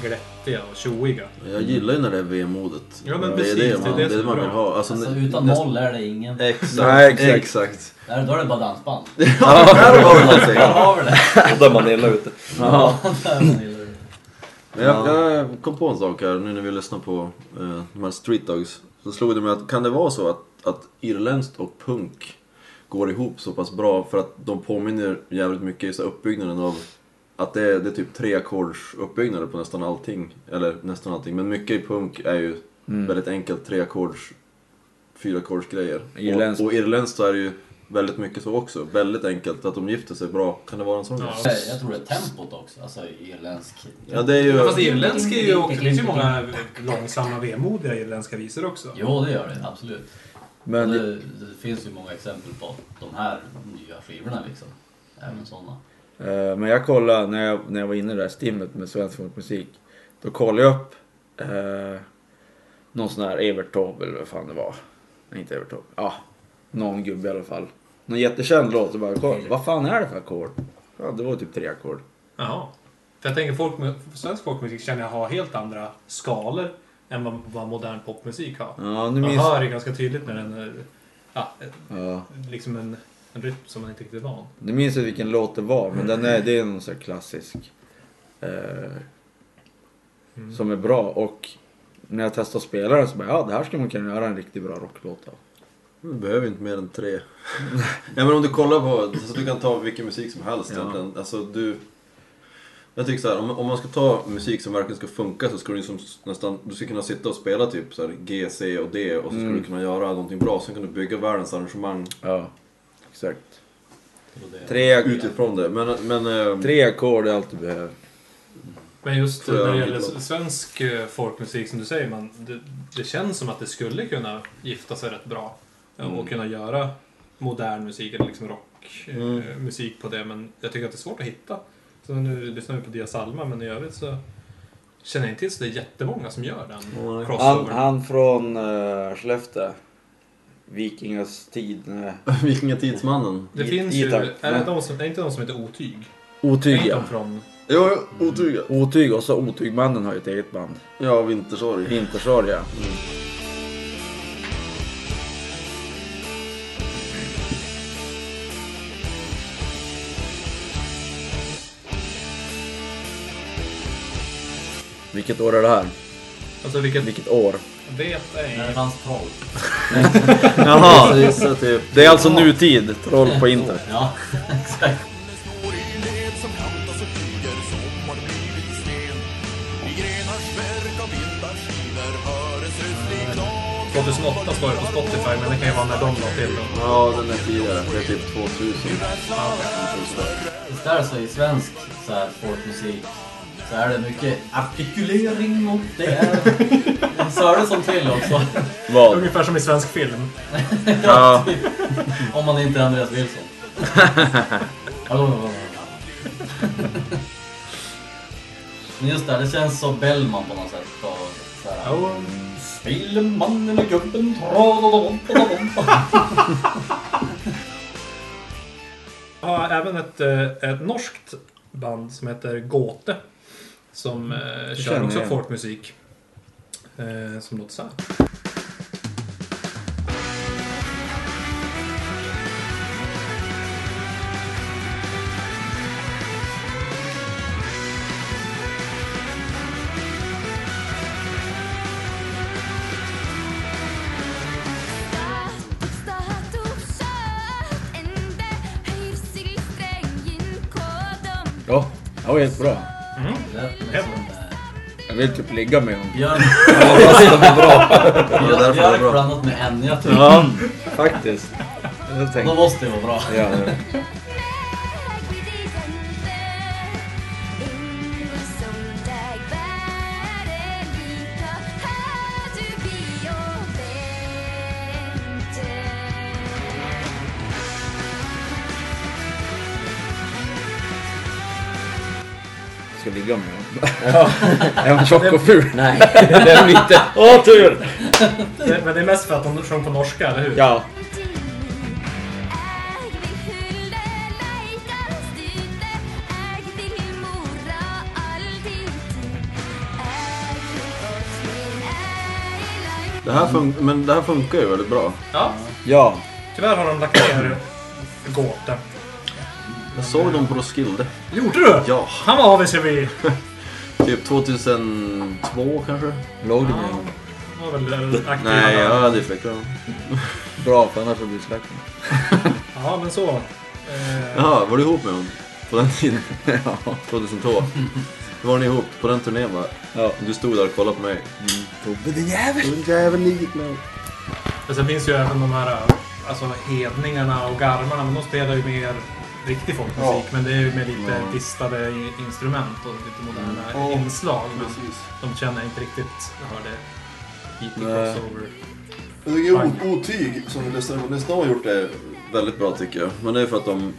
S2: glättiga och tjoiga.
S5: Jag gillar ju när det är vemodigt.
S2: Ja, men
S5: det
S2: precis,
S5: är det man,
S2: det
S5: det
S2: är det
S5: är
S2: som är
S5: det man
S2: bra.
S5: vill ha. Alltså,
S4: Alltså
S5: nä-
S4: utan
S5: nästan-
S4: noll är det ingen.
S5: Exakt,
S3: Nej, exakt.
S5: exakt. exakt.
S4: Där, då är det bara dansband.
S5: Ja, där var det någonting.
S4: Där har vi det.
S6: Och där man är illa ute.
S3: Ja.
S4: Där man gillar det.
S5: Men jag, jag kom på en sak här nu när vi lyssnade på eh, de här Street Dogs. Så slog det mig att kan det vara så att, att irländskt och punk går ihop så pass bra för att de påminner jävligt mycket i så här uppbyggnaden av att det är, det är typ tre ackords uppbyggnader på nästan allting. Eller nästan allting, men mycket i punk är ju väldigt enkelt tre ackords, fyra ackords grejer.
S3: Irländskt.
S5: Och, och irländskt så är det ju väldigt mycket så också. Väldigt enkelt, att de gifter sig bra. Kan det vara en sån grej?
S2: Ja.
S4: Jag tror det är tempot också, alltså irländsk.
S5: Ja, det är ju...
S2: Ja, fast irländsk är ju också, det finns ju många långsamma, vemodiga irländska visor också.
S4: Jo, det gör det absolut.
S3: Men
S6: Mm.
S3: det,
S4: det, det finns ju många exempel på de här nya skivorna liksom. Även sådana.
S3: Eh, Men jag kollade när jag, när jag var inne i det där stimmet med svensk folkmusik. Då kollade jag upp eh, någon sån här Evert Taube eller vad fan det var. Nej, inte Evert Taube. Ja, någon gubbe i alla fall. Någon jättekänd låt. Så bara, kolla, vad fan är det för ackord? Ja, det var typ tre ackord.
S2: Jaha. För jag tänker folk, svensk folkmusik känner jag har helt andra skalor än vad, vad modern popmusik har.
S3: Ja,
S2: Man
S3: nu minns...
S2: hör ju ganska tydligt när den är ja,
S3: Ja,
S2: liksom en, en rytm som man inte riktigt är van.
S3: nu minns jag vilken låt det var, men den är, det är någon sån här klassisk. Eh, Som är bra och när jag testade att spela den så bara, ja det här skulle man kunna göra en riktigt bra rocklåt av.
S5: Du Mm, behöver inte mer än tre. Nej men om du kollar på, så du kan ta vilken musik som helst
S3: Ja.
S5: egentligen. Alltså du... Jag tycker så här, om, om man ska ta musik som verkligen ska funka så ska du liksom nästan, du ska kunna sitta och spela typ så här G, C och D och så ska du kunna göra någonting bra. Sen kan du bygga världens arrangemang
S3: Ja, exakt.
S4: Och det-
S3: Tre,
S5: utifrån det. Men, men... ehm,
S3: tre ackord är allt du behöver.
S2: Men just
S5: Får jag
S2: när det
S5: en
S2: gäller
S5: hitlåt?
S2: svensk eh, folkmusik som du säger, man, det, det känns som att det skulle kunna gifta sig rätt bra. eh,
S5: Mm.
S2: Och kunna göra modern musik eller liksom
S5: Mm.
S2: rockmusik på det. Men jag tycker att det är svårt att hitta. Så nu lyssnar vi på Dia Salma, men i övrigt så känner jag inte till så det är jättemånga som gör den
S5: Nej.
S3: Han,
S2: crossovern.
S3: han från uh, Skellefteå. Vikingas tid. nej.
S5: eh, Vikingatidsmannen.
S2: Det
S3: i-
S2: finns
S3: i
S2: ju...
S3: takt,
S2: Är det
S3: nej.
S2: de som, är inte de som heter Otyg?
S3: Otyg
S2: Är inte
S3: ja.
S2: de från...
S5: Jo, jo, otyga.
S3: Otyg och så Otygmannen har ju ett eget band.
S5: Ja, Vintersorg.
S3: Vintersorg ja. Vilket år är det här?
S2: Alltså vilket...
S3: Vilket år?
S2: Vet ej.
S4: När det fanns troll.
S5: Jaha! Gissa typ...
S3: Det är alltså nutid. Troll på internet.
S4: Ja, exakt.
S7: Hör
S2: 2008 står det på Spotify, men det kan ju vara när de la till den.
S5: Ja, den är tidigare. Det är typ 2000.
S4: Visst är det så i svensk så här, folkmusik så är det mycket artikulering och det är Sörensson till också.
S3: Vad?
S2: Ungefär som i svensk film.
S3: Ja.
S4: Om man inte är Andreas Wilson. Hallå, hallå, hallå. Men just det, här, det känns så Bellman på något sätt. Och så här, Spelen, mannen och gubben, tralala-bompa-bompa.
S2: Jag har även ett, eh, ett norskt band som heter Gåte. Som
S5: Mm.
S2: eh, kör
S3: känner
S2: också
S3: jag.
S2: folkmusik. Eh, som låter så här.
S3: Ja, det var helt bra.
S4: Det är som, eh,
S3: Jag vill typ ligga med honom.
S4: Björn,
S5: Ja, därför är
S4: Björn,
S5: det bra.
S4: Björk blandat med Enya typ.
S3: Ja, faktiskt. Jag
S4: Då
S3: tänkte,
S4: måste det vara bra.
S3: ja, ja.
S7: du blir och väl
S3: ska ligga med. Är hon tjock och ful?
S7: Nej.
S3: Det är hon inte. Åh, tur!
S2: Det- Men det är mest för att de sjöng på norska, eller hur?
S3: Ja.
S5: Det här, fun- men det här funkar ju väldigt bra.
S2: ja.
S3: Ja.
S2: Tyvärr har de lagt ner gåtan.
S5: Jag såg dem på Roskilde.
S2: Gjorde du?
S5: Ja,
S2: Han var avis vi.
S5: typ 2002 kanske?
S3: Låg du med honom?
S2: Han var väl aktiv.
S5: Nej, jag hade ju flickvän.
S3: Bra, för annars hade du släckt den.
S2: Ja, men så. Eh,
S5: Jaha, var du ihop med hon? På den tiden? Ja. 2002. Då var ni ihop på den turnén va?
S3: Ja.
S5: Du stod där och kollade på mig.
S3: Tobbe din jävel!
S2: Men sen finns ju även de här alltså, hedningarna och garmarna, men de spelar ju mer riktig folkmusik. Men det är ju med lite distade i- instrument och lite moderna inslag. Men de känner inte riktigt, jag hörde, hit i
S3: Nej.
S2: crossover.
S8: Jag tycker o- Otyg som vi lyssnade på nästan har gjort det.
S5: Väldigt bra tycker jag. Men det är för att de...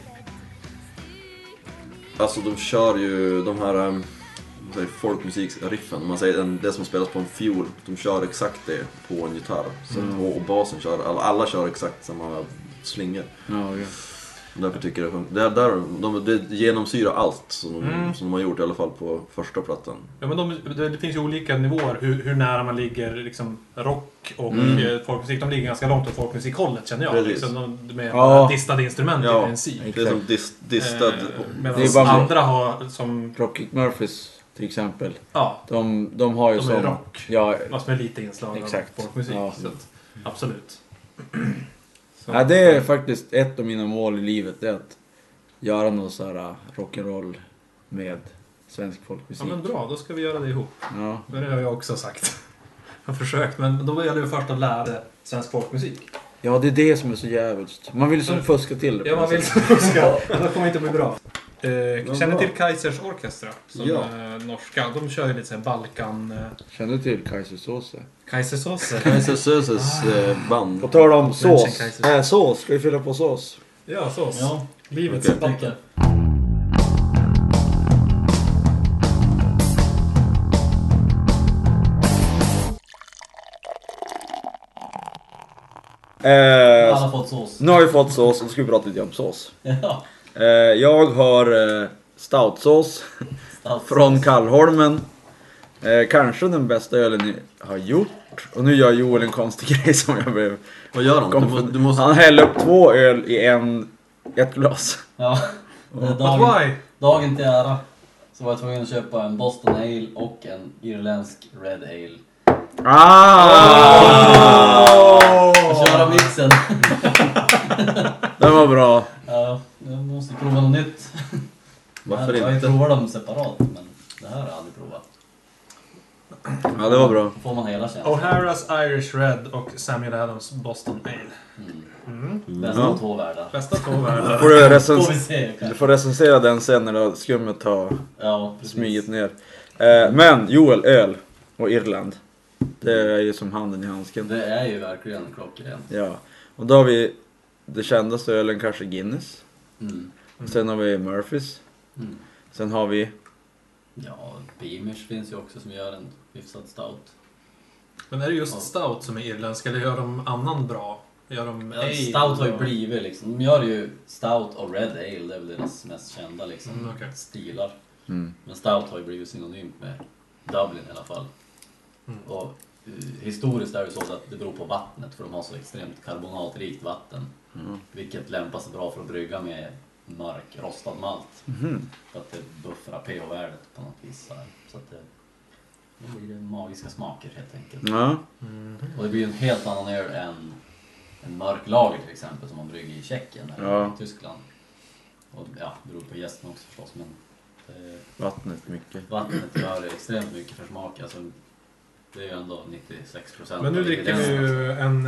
S5: Alltså de kör ju de här ehm, vad säger, folkmusikriffen, om man säger den- det som spelas på en fiol. De kör exakt det på en gitarr. Så på, och basen kör, alla, alla kör exakt samma slingor.
S3: Ja, ja.
S5: Därför tycker jag det funkar. Det, där, de, det genomsyrar allt som de,
S2: Mm.
S5: som de har gjort, i alla fall på första plattan.
S2: Ja, men de, det, det finns ju olika nivåer hur, hur nära man ligger liksom, rock och
S3: Mm.
S2: eh, folkmusik. De ligger ganska långt åt folkmusikhållet känner jag.
S5: Precis.
S2: Liksom, de, med
S3: Ja.
S2: distade instrument
S5: Ja.
S2: i princip.
S5: Det är som dis, distad...
S2: Eh, Medan
S3: Det är bara-
S2: andra har som...
S3: Rocky Murphys till exempel.
S2: Ja,
S3: De, de har ju
S2: De är
S3: som...
S2: rock.
S3: Ja,
S2: Fast med lite inslag
S3: Exakt.
S2: av folkmusik.
S3: Ja.
S2: Så att, absolut. Så.
S3: ja, det är faktiskt ett av mina mål i livet. Det är att göra någon så här äh, rock'n'roll med svensk
S2: ja,
S3: folkmusik.
S2: men bra, då ska vi göra det ihop.
S3: Ja.
S2: Men Det har jag också sagt. Jag har försökt, men då gäller det först att lära sig svensk folkmusik.
S3: ja, det är det som är så jävligt. Man vill som fuska till det. på
S2: Ja, man
S3: något
S2: vill
S3: sätt.
S2: fuska. Det kommer inte bli bra. Eh, känner
S5: bra.
S2: till Kaisers Orkestra? Som
S5: Ja.
S2: är norska. De kör ju lite såhär Balkan... Eh,
S3: Känner du till Kaisersåse?
S2: Kaisersåser.
S5: Kaiser Söses eh, band.
S3: På tal om
S2: sås.
S3: sås. Eh,
S2: Kaiser.
S3: sås. Ska vi fylla på sås?
S2: ja, sås.
S4: Ja,
S2: Livets
S5: Okej.
S2: vatten.
S4: alla har fått sås.
S3: Eh,
S5: Mm.
S3: nu har vi fått sås och då ska vi prata lite om sås.
S4: Ja,
S3: Eh, jag har eh, stoutsås
S4: stout.
S3: från Kallholmen. Eh, kanske den bästa ölen ni har gjort. Och nu gör Joel en konstig grej som jag blev...
S5: Vad gör de? Du, må- du måste...
S3: Han häller upp två öl i en, ett glas.
S4: Ja.
S5: Mm.
S4: Det är
S2: But
S4: dagen,
S2: why?
S4: dagen till ära så var jag tvungen att köpa en Boston Ale och en irländsk Red Ale.
S3: Ah!
S4: Och köra mixen.
S3: Den var bra.
S4: Ja, jag måste prova något nytt.
S5: Varför
S4: jag har ju
S5: inte?
S4: provat dem separat men det här har jag aldrig provat.
S3: Ja, det var bra.
S4: Får man hela känslan.
S2: O'Hara's Irish Red och Samuel Adams Boston Ale.
S4: Bästa av två världar.
S2: Bästa två världar.
S3: Får du,
S4: Får vi
S3: recens-
S4: se.
S3: du
S4: kanske.
S3: får recensera den sen när du har skummet har
S4: Ja, precis.
S3: smugit ner. Eh, men Joel, öl och Irland. Det är ju som handen i handsken.
S4: Det är ju verkligen klockrent.
S3: Ja. Och då har vi det kändaste ölen kanske Guinness.
S4: Mm.
S3: Sen har vi Murphys.
S4: Mm.
S3: Sen har vi...
S4: Ja, Beamers finns ju också som gör en hyfsad stout.
S2: Men är det just stout som är irländsk eller gör de annan bra? Gör de
S4: Ja,
S2: ale
S4: stout har ju
S2: och-
S4: blivit liksom, de gör ju stout och red ale, det är väl deras mest kända liksom
S2: Mm, okej.
S4: stilar.
S3: Mm.
S4: Men stout har ju blivit synonymt med Dublin i alla fall.
S2: Mm.
S4: Och eh, historiskt är det så att det beror på vattnet för de har så extremt karbonatrikt vatten. Vilket lämpar sig bra för att brygga med mörk rostad malt. För att det buffrar pH-värdet på något vis. Så, här. så att det, det blir magiska smaker helt enkelt.
S3: Ja.
S2: Mm.
S4: Och det blir ju en helt annan öl än en mörk lager till exempel som man brygger i Tjeckien eller
S3: Ja.
S4: i Tyskland. Och ja, det beror på gästen också förstås men eh,
S3: Vattnet mycket.
S4: vattnet gör extremt mycket för smak. Alltså, det är ju ändå 96 procent.
S2: Men nu dricker vi ju en,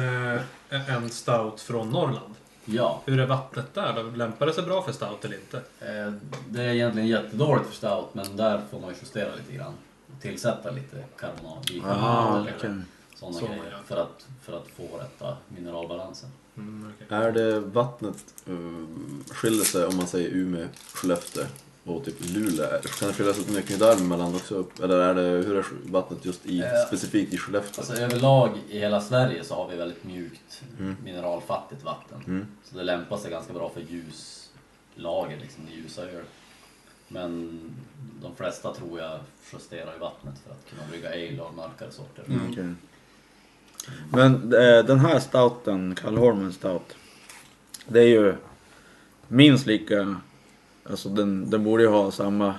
S2: eh, en stout från Norrland.
S4: Ja,
S2: Hur är vattnet där? då? Lämpar det sig bra för stout eller inte?
S4: eh, det är egentligen jättedåligt för stout men där får man ju justera lite grann. Och tillsätta lite karbonat, bikarbonat eller sådana
S2: Så,
S4: grejer
S2: ja.
S4: för, att, för att få rätta mineralbalansen.
S2: Mm, okej.
S5: eh, Är det vattnet um, skiljer sig om man säger Umeå, Skellefteå och typ Luleå? Kan det skiljas åt mycket där mellan också? Eller är det, hur är vattnet just i,
S4: Eh,
S5: specifikt i Skellefteå?
S4: Alltså överlag i hela Sverige så har vi väldigt mjukt
S5: Mm.
S4: mineralfattigt vatten. Så det lämpar sig ganska bra för ljuslager, liksom det ljusa öl. Men de flesta tror jag justerar i vattnet för att kunna brygga ale och mörkare sorter.
S6: Mm.
S5: Okej.
S3: Men eh, den här stouten, Kallholmen stout. Det är ju minst lika... Alltså den, den borde ju ha samma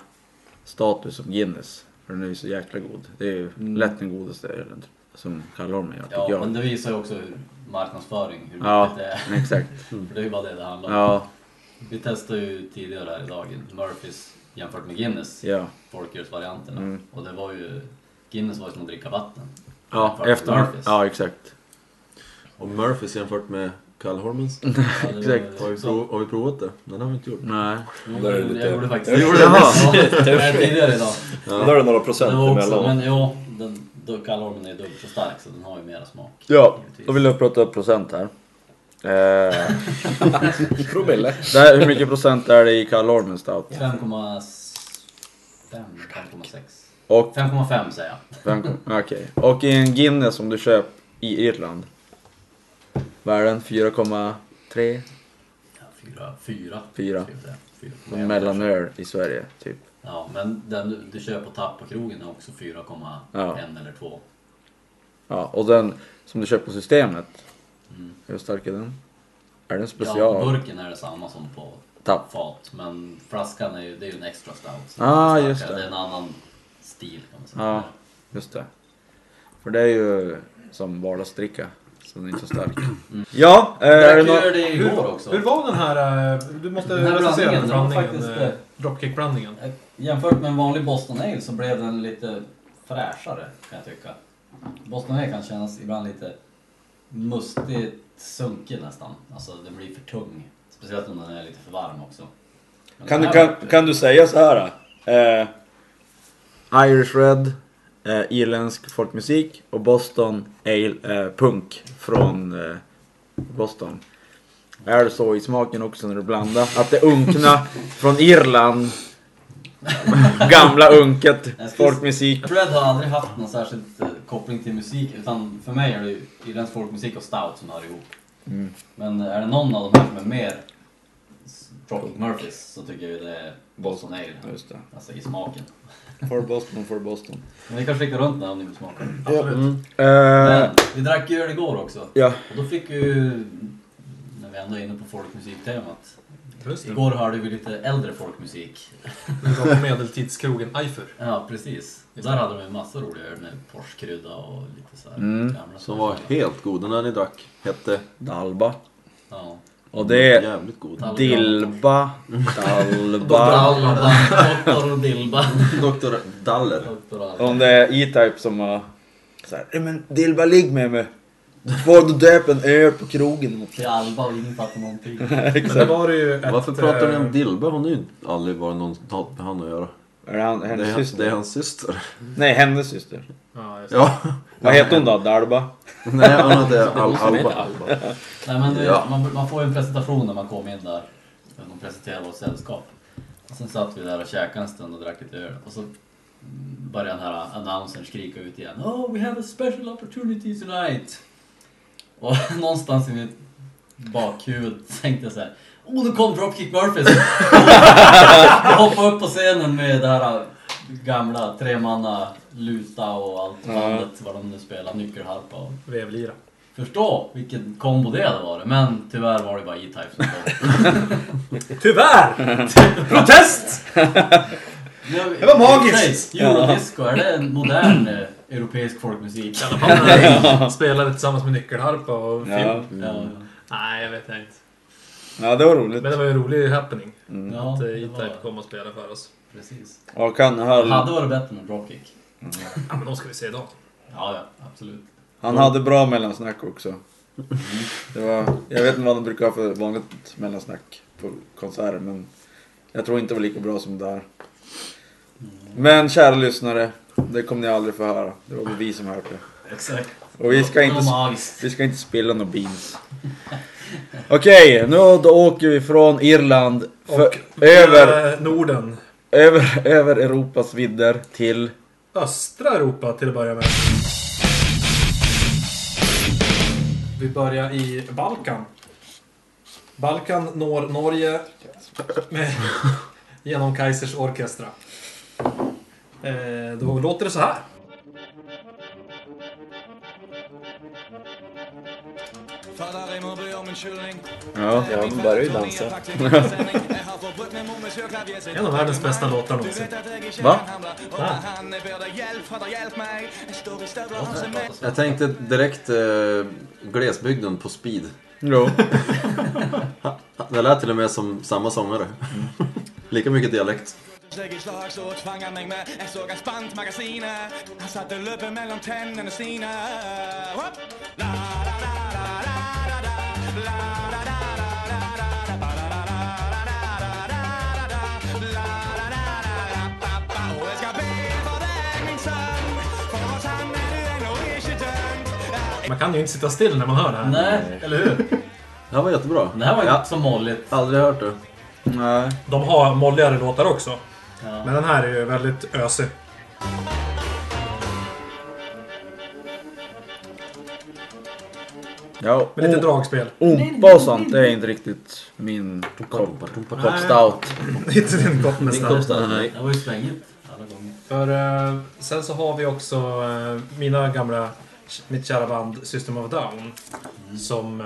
S3: status som Guinness. För den är ju så jäkla god. Det är ju lätt den godaste ölen som Kallholmen gör
S4: Ja,
S3: tycker jag.
S4: men det visar ju också hur marknadsföring, hur
S3: Ja.
S4: viktigt det är.
S3: Exakt.
S4: För det är ju bara det det handlar om.
S3: Ja,
S4: Vi testade ju tidigare här idag Murphys jämfört med Guinness,
S3: ja.
S4: folkölsvarianterna.
S3: Mm.
S4: Och det var ju, Guinness var ju som att dricka vatten.
S3: Ja,
S4: Jämfört med
S3: efter,
S4: Murphys.
S3: ja exakt.
S5: Och Murphys jämfört med Kallholmens?
S4: Ja, det var-
S3: Exakt.
S5: Har vi,
S4: så-
S5: prov, har vi provat det? Den har vi inte gjort.
S3: Nej.
S4: Jo,
S6: Där är det
S4: jag
S6: lite-
S4: gjorde faktiskt
S6: Jag gjorde
S4: det.
S3: det.
S4: Ja, tidigare idag.
S6: Men Där är det några procent
S4: Det var också,
S6: emellan.
S4: men jo, den då kallormen är dubbelt så stark så den har ju mera smak.
S3: Ja,
S4: givetvis.
S3: då vill jag prata procent här. Eh,
S6: Promille.
S3: där, hur mycket procent är det i Kallholmen stout?
S4: 5,5, 5,6.
S3: Och
S4: 5,5 säger jag.
S3: Fem kom- Okej. Och i en Guinness som du köper i Irland. Vad är den? 4,3?
S4: Ja, Fyra, fyra.
S3: Fyra.
S4: skulle jag säga. Fyra.
S3: Som mellanöl i Sverige, typ.
S4: Ja, men den du, du köper på tapp på krogen är också 4,1
S3: Ja.
S4: eller 2.
S3: Ja, och den som du köper på Systemet. Hur stark är den? Är den special?
S4: Ja, burken är det samma som på
S3: Tapp.
S4: fat, men flaskan är ju, det är ju en extra stout. så
S3: Ah,
S4: den är starkare.
S3: just det.
S4: Det är en annan stil kan man säga.
S3: Ja, just det. För det är ju som vardagsdricka. Så den är inte så stark. Ja, eh, är det
S4: Drack ju
S3: något...
S4: det
S2: Hur,
S4: igår också.
S2: hur var den här... eh, Du måste
S4: Den här
S2: recensera den här
S4: blandningen,
S2: blandningen.
S4: den var
S2: eh,
S4: faktiskt,
S2: Dropkick-blandningen.
S4: Eh, Jämfört med en vanlig Boston Ale så blev den lite fräschare kan jag tycka. Boston Ale kan kännas ibland lite mustigt sunkig nästan. Alltså den blir för tung. Speciellt om den är lite för varm också. Men
S3: Kan du,
S4: den
S3: kan,
S4: här-
S3: kan du säga så här? då? Eh, Irish Red, eh, irländsk folkmusik och Boston Ale eh, punk från eh, Boston. Är det så i smaken också när du blandar? Att det unkna från Irland, gamla unket,
S4: Jag skulle-
S3: folkmusik.
S4: Jag tror jag har aldrig haft någon särskild eh, koppling till musik utan för mig är det ju irländsk folkmusik och stout som hör ihop. Mm, Men är det någon av de här som är mer Dropkick Murphys så tycker jag ju det är Boston Ale.
S3: Just det.
S4: Alltså i smaken.
S3: For Boston, for Boston.
S4: Men vi kan skicka runt den här om ni vill smaka.
S3: Eh,
S4: Mm. Men vi drack ju öl igår också.
S3: ja,
S4: Och då fick ju, när vi ändå är inne på folkmusiktemat.
S2: Just det.
S4: Igår hörde vi lite äldre folkmusik.
S2: Den var på medeltidskrogen Eifer.
S4: Ja, precis. Och där hade de ju massa roliga öl med porschkrydda och lite så här
S3: Mm.
S4: gamla
S5: Som var
S4: saker.
S5: helt god. Den här ni drack hette...
S3: Dalba.
S4: Ja.
S3: Och det är
S5: Jävligt god.
S4: Dalba.
S3: Dilba, Dalba.
S4: Dalba, Doktor och Dilba.
S5: Dr. Daller.
S4: Doktor och allt.
S3: Om det är E-Type som har såhär, "Nej, men Dilba ligg med mig. Får du döp en öl på krogen?
S4: Till Alba och ingen fattar någonting.
S2: Men det var ju ett...
S5: Varför pratar ni
S2: eh,
S5: om Dilba? Hon har ju inte aldrig varit någon som haft med han att göra.
S3: Är det han,
S5: Det
S3: hennes
S5: är,
S3: syster?
S5: det är hans syster.
S3: Nej, hennes syster.
S2: Ja, just det.
S5: Ja.
S3: Vad heter hon då? Dalba?
S5: Nej, han hade Al Alba.
S4: Nej, men det,
S5: Ja.
S4: man, man får ju en presentation när man kom in där. De presenterade vårt sällskap. Och sen satt vi där och käkade en stund och drack lite öl. Och så började den här annonsern skrika ut igen. Oh, we have a special opportunity tonight! Och någonstans i mitt bakhuvud tänkte jag så här. Oh, nu kom Dropkick Murphys! jag hoppade upp på scenen med det här äh, gamla tremanna luta och allt bandet, vad de nu spelar, nyckelharpa och
S2: Vevlira.
S4: Förstå vilken kombo det hade varit, men tyvärr var det bara E-Type som kom.
S2: Tyvärr! Protest!
S4: Det
S3: var magiskt!
S4: Eurodisco, är det en modern eh, europeisk folkmusik?
S2: Nej, spelade eh, tillsammans med nyckelharpa och fiol.
S3: Ja.
S4: Mm. Ja,
S2: Nej, jag vet inte.
S3: ja, det var roligt.
S2: Men det var ju en rolig happening.
S4: ja,
S2: Att eh,
S4: det
S2: E-Type
S4: var,
S2: kom och spelade för oss.
S4: precis.
S3: Och han
S4: Det
S3: höll...
S4: hade varit bättre med Dropkick.
S2: Ja, men de ska vi se idag.
S4: Ja, ja, absolut.
S3: Han hade bra mellansnack också. Det var, jag vet inte vad de brukar ha för vanligt mellansnack på konserter men jag tror inte det var lika bra som det här. Men kära lyssnare, det kommer ni aldrig få höra. Det var vi som hörde det.
S4: Exakt.
S3: Och vi ska
S4: Det var
S3: inte,
S4: magiskt.
S3: vi ska inte spilla några beans. Okej, nu då åker vi från Irland för, över
S2: Eh, Norden
S3: Över, över Europas vidder till...
S2: Östra Europa till att börja med. Vi börjar i Balkan. Balkan når Norge med, genom Kaisers orkestra. Eh, då låter det så här.
S3: Ja.
S7: Ja, de börjar ju dansa.
S2: En av världens bästa låtar någonsin.
S3: Va?
S2: Ja.
S5: Jag tänkte direkt eh, glesbygden på speed.
S3: Jo.
S5: Det lät till och med som samma sångare. Lika mycket dialekt.
S2: Man kan ju inte sitta still när man hör det här.
S4: Nej,
S2: Eller hur?
S5: Det här var jättebra.
S4: det här var ju
S5: Jag
S4: inte så molligt.
S5: har aldrig hört det.
S3: Nej.
S2: De har molligare låtar också.
S4: Ja.
S2: Men den här är ju väldigt ösig.
S3: Ja,
S2: Med lite
S3: o-
S2: dragspel.
S3: Ompa och sånt, det är inte riktigt min kopp. Kopp stout.
S2: Inte din kopp
S5: Din
S2: nästan.
S5: kompis Nej.
S4: Det var ju svängigt alla gånger.
S2: För eh, sen så har vi också eh, mina gamla, mitt kära band System of a Down. Som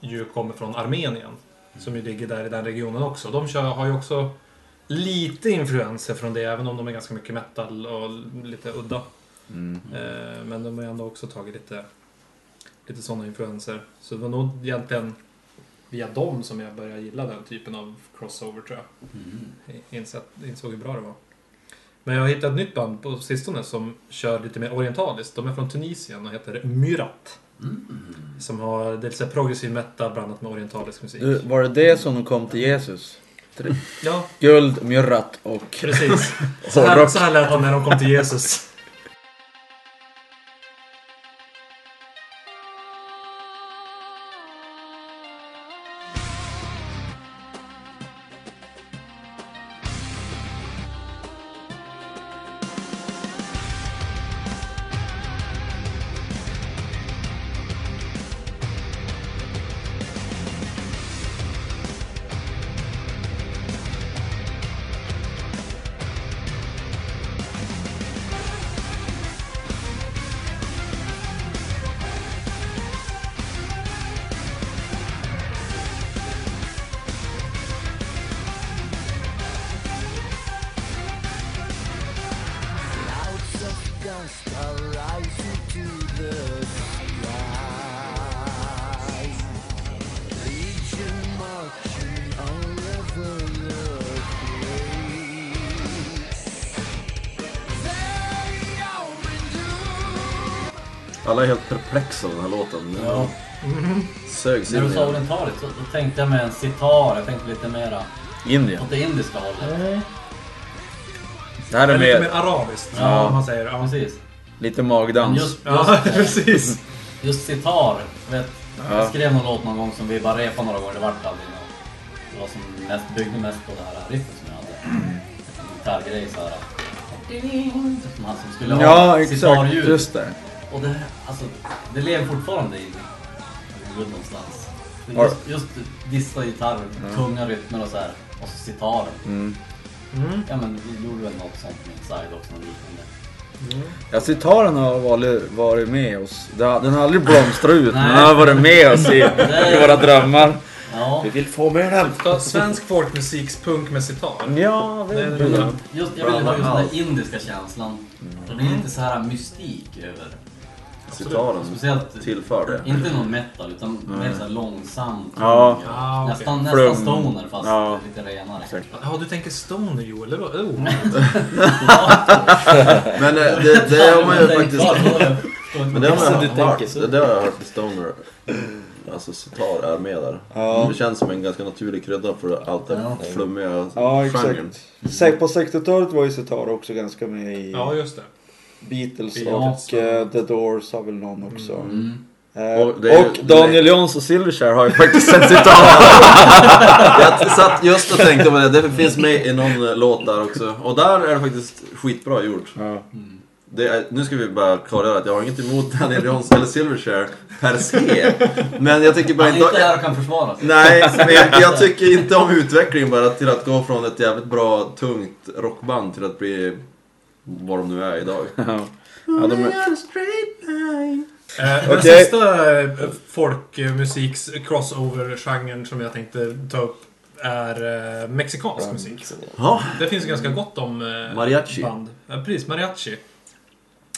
S2: ju kommer från Armenien. Som ju ligger där i den regionen också. De kör, har ju också lite influenser från det, även om de är ganska mycket metal och lite udda.
S3: Mm.
S2: Eh, men de har ju ändå också tagit lite, lite sådana influenser. Så det var nog egentligen via dem som jag började gilla den typen av crossover tror jag. Insett, insåg hur bra det var. Men jag har hittat ett nytt band på sistone som kör lite mer orientaliskt. De är från Tunisien och heter Myrat. Som har det är så här progressiv metal blandat med orientalisk musik.
S3: Du, var det det som kom till Jesus?
S2: Ja,
S3: Guld, myrrat och...
S2: precis. Så här,
S3: Hårdrock.
S2: så här lät de när de kom till Jesus.
S5: Alla är helt perplexa av den här låten. Mm. Den
S4: Ja.
S5: sögs
S4: När
S5: in
S4: du
S5: i
S4: sa
S5: den.
S4: orientaliskt så då tänkte jag med en sitar. Jag tänkte lite mera
S3: Indien.
S4: åt det indiska hållet.
S2: Mm.
S3: Det här
S2: Det
S3: är
S2: är lite mer
S3: mer
S2: arabiskt,
S4: Ja.
S2: ja. man säger. Ja, precis.
S4: Precis.
S3: lite
S4: Men
S3: magdans.
S4: just,
S2: Ja,
S4: just,
S2: precis.
S4: just sitar. Vet,
S3: Ja.
S4: Jag skrev någon låt någon gång som vi bara repade några gånger. Det vart aldrig något. Det var som mest, byggde mest på det här riffet som jag hade. En gitarrgrej såhär. Som han som skulle ha
S3: Ja, exakt.
S4: sitarljud.
S3: Just det.
S4: Och det, alltså, det lever fortfarande i mig. Alltså, det går någonstans. Det är
S3: Har-
S4: Just, just dissa gitarrer, tunga rytmer och så här. Och så sitarer.
S3: Mm.
S4: Ja men vi gjorde väl något sånt med Inside också, något liknande.
S3: Ja, sitaren har varit, varit med oss. Den har den har aldrig blomstrat ut, men den
S4: Nej.
S3: har varit med oss i, i våra drömmar.
S4: Ja,
S6: Vi vill få med den!
S2: Ja, Svensk folkmusikspunk med sitar.
S3: Ja,
S2: Det är det bra.
S4: just, jag ville ha just den där indiska känslan.
S2: Mm.
S4: Det blir inte så här mystik över.
S5: Sitaren
S4: Speciellt,
S5: tillför det.
S4: inte någon metal utan mer så här långsam.
S3: Ja.
S2: Ja, Ah, okej.
S4: Nästan,
S3: Flum.
S4: nästan stoner fast
S3: Ja.
S4: lite renare.
S3: Exakt.
S2: Ja, du tänker Stoner Joel? Det var oh.
S5: Men eh, det, det har man ju faktiskt... Men det har
S4: man
S5: man
S6: du
S5: ju hört.
S6: tänker så.
S5: Det, det har jag hört i Stoner. Alltså sitar är med där. Det känns som en ganska naturlig krydda för allt det flummiga
S3: Ja,
S5: genren.
S3: exakt. Se- På 60-talet var ju sitar också ganska med i
S2: Ja, just det.
S3: Beatles
S2: Beatles,
S3: och eh, The Doors har väl någon också.
S4: Mm.
S3: Eh, Eh,
S5: Och det är ju-
S3: och Daniel Jones och Silverchair har ju faktiskt en citat.
S5: Jag satt just och tänkte på det, det finns med i någon eh, låt där också. Och där är det faktiskt skitbra gjort.
S3: Ja.
S5: Det är, nu ska vi bara klargöra att jag har inget emot Daniel Johnson eller Silverchair per se. Men jag tycker bara
S4: Han är inte
S5: inte...
S4: här och kan försvara
S2: Mm.
S4: sig.
S5: Nej, men jag, jag tycker inte om utvecklingen bara till att gå från ett jävligt bra, tungt rockband till att bli vad de nu är idag.
S3: Ja. Ja, de är...
S2: Eh, Den
S3: Okej.
S2: sista eh, folkmusiks crossover-genren som jag tänkte ta upp är eh, mexikansk musik.
S5: Ja,
S2: Det finns ju ganska gott om eh,
S5: Mariachi.
S2: band. Ja, precis, mariachi.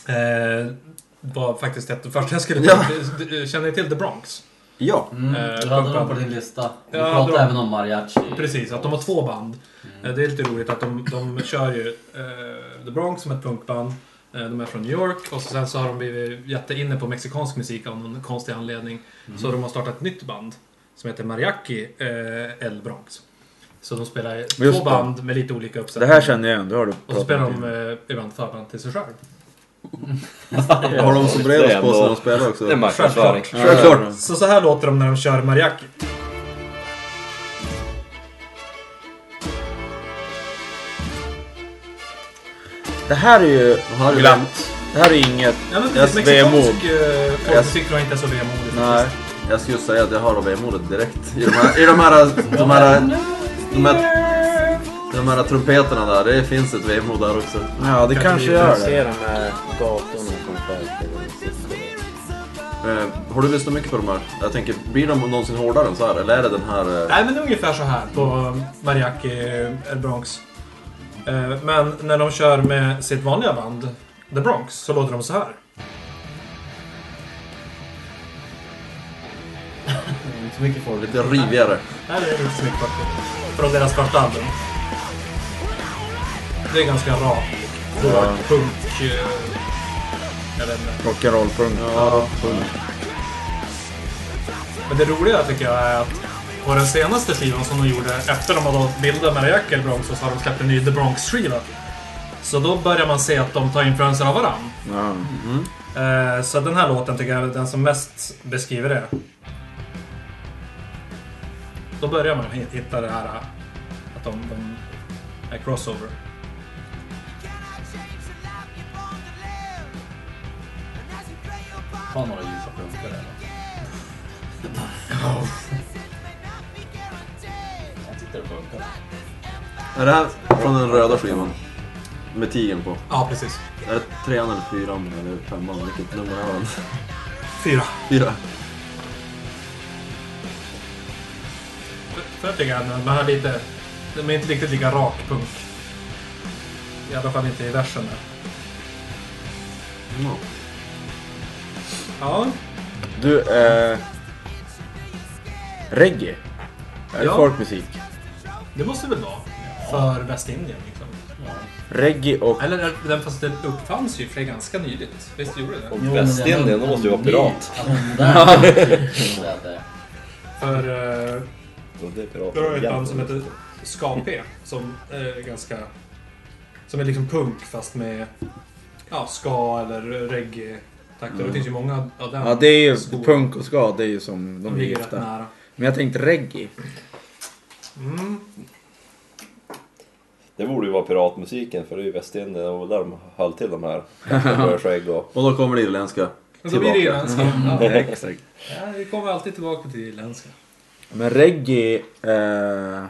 S2: Eh, var faktiskt ett det första jag skulle
S5: Ja.
S2: ja. Känner ni till The Bronx?
S5: ja.
S4: Mm,
S2: Eh,
S4: du hade
S2: pumpad.
S4: dem på din lista. Vi
S2: Ja,
S4: pratade
S2: de-
S4: även om mariachi.
S2: Precis, att de har två band.
S3: Mm.
S2: Eh, Det är lite roligt att de, de kör ju eh, The Bronx som ett punkband. Eh, de är från New York och så sen så har de blivit jätteinne på mexikansk musik av någon konstig anledning.
S3: Mm.
S2: Så de har startat ett nytt band som heter Mariachi eh, El Bronx. Så de spelar
S3: Just
S2: två
S3: det.
S2: band med lite olika
S3: Det
S2: uppsättningar.
S3: här känner jag igen, det har du
S2: och så
S3: pratat
S2: spelar
S3: om.
S2: de eh, ibland förband till sig själv.
S5: Har de
S6: Det
S5: sombreros
S6: är
S5: på sig när
S6: ändå-
S5: de spelar också?
S6: Det är marknadsföring.
S3: Ja, det är
S5: Självklart.
S3: bra.
S2: Så så här låter de när de kör Mariachi.
S3: Det här är ju
S5: här är det-
S3: glatt. Det här är inget...
S2: Ja, men
S3: Jag
S2: precis,
S3: är
S2: mexikansk eh,
S5: Jag-
S2: folkmusik tror jag inte är så vemodig
S3: Nej.
S2: faktiskt.
S5: Jag skulle säga att jag har vemodet direkt. I de här, i de här, de här, de här, de här trumpeterna där, det finns ett vemod där också.
S3: Ja, det kanske gör det.
S7: de här gatorna som själv.
S5: Eh, har du lyssnat mycket på de här? Jag tänker, blir de någonsin hårdare än så här? Eller är det den här... Eh,
S2: Nej, men det är ungefär så här på um, Mariachi El Bronx. Eh, Men när de kör med sitt vanliga band, The Bronx, så låter de så här.
S4: Inte så mycket folk.
S5: lite rivigare.
S2: Här är det inte så mycket faktiskt. Från deras första album. Det är ganska rak, hård punk. eh, Jag vet inte.
S3: Rock'n'roll-punk. Ja.
S2: Men det roliga tycker jag är att på den senaste skivan som de gjorde, efter de hade bildat Mariachi El Bronx, och så har de släppt en ny The Bronx-skiva. Så då börjar man se att de tar influenser av varandra.
S3: Ja.
S2: Eh, Så den här låten tycker jag är den som mest beskriver det. Då börjar man hit- hitta det här eh, att de, de är crossover.
S4: Ta några djupa punkter eller? Jag tyckte det funkade.
S5: Är det här från den röda skivan? Med tigern på.
S2: Ja, precis.
S5: Är det trean eller fyran eller femman? Vilket nummer är den?
S2: Fyra.
S5: Fyra.
S2: För jag tycker jag den här är lite... Den är inte riktigt lika rak punk. I alla fall inte i versen där.
S5: Ja.
S2: Ja,
S3: Du, eh... Reggae? Är det
S2: Ja.
S3: folkmusik?
S2: det måste det väl vara. För Västindien liksom.
S3: Reggae och...
S2: Eller är- den fast den uppfanns ju för ganska nyligt. Visst gjorde det?
S4: Jo, men
S6: Västindien,
S4: det är
S6: då måste ju vara
S4: en
S6: pirat.
S4: ny- alltså, modern- så att det-
S2: För... eh,
S6: Det är pirat.
S2: Jag har ett band som heter Ska-P som är ganska... Som är liksom punk fast med ja, ska eller reggae-takter. Det finns ju många av den.
S3: Ja, det är ju
S2: Stora.
S3: punk och ska, det är ju som
S2: som
S3: de är
S2: ligger rätt
S3: gifta.
S2: nära.
S3: Men jag tänkte reggae.
S2: Mm.
S6: Det borde ju vara piratmusiken för det är ju Västindien och där de höll till de här. Rödskägg och...
S5: Och då kommer det irländska.
S2: Men då blir det irländska. Ja.
S3: Exakt.
S2: Ja, vi kommer alltid tillbaka till irländska.
S3: Men reggae... Eh...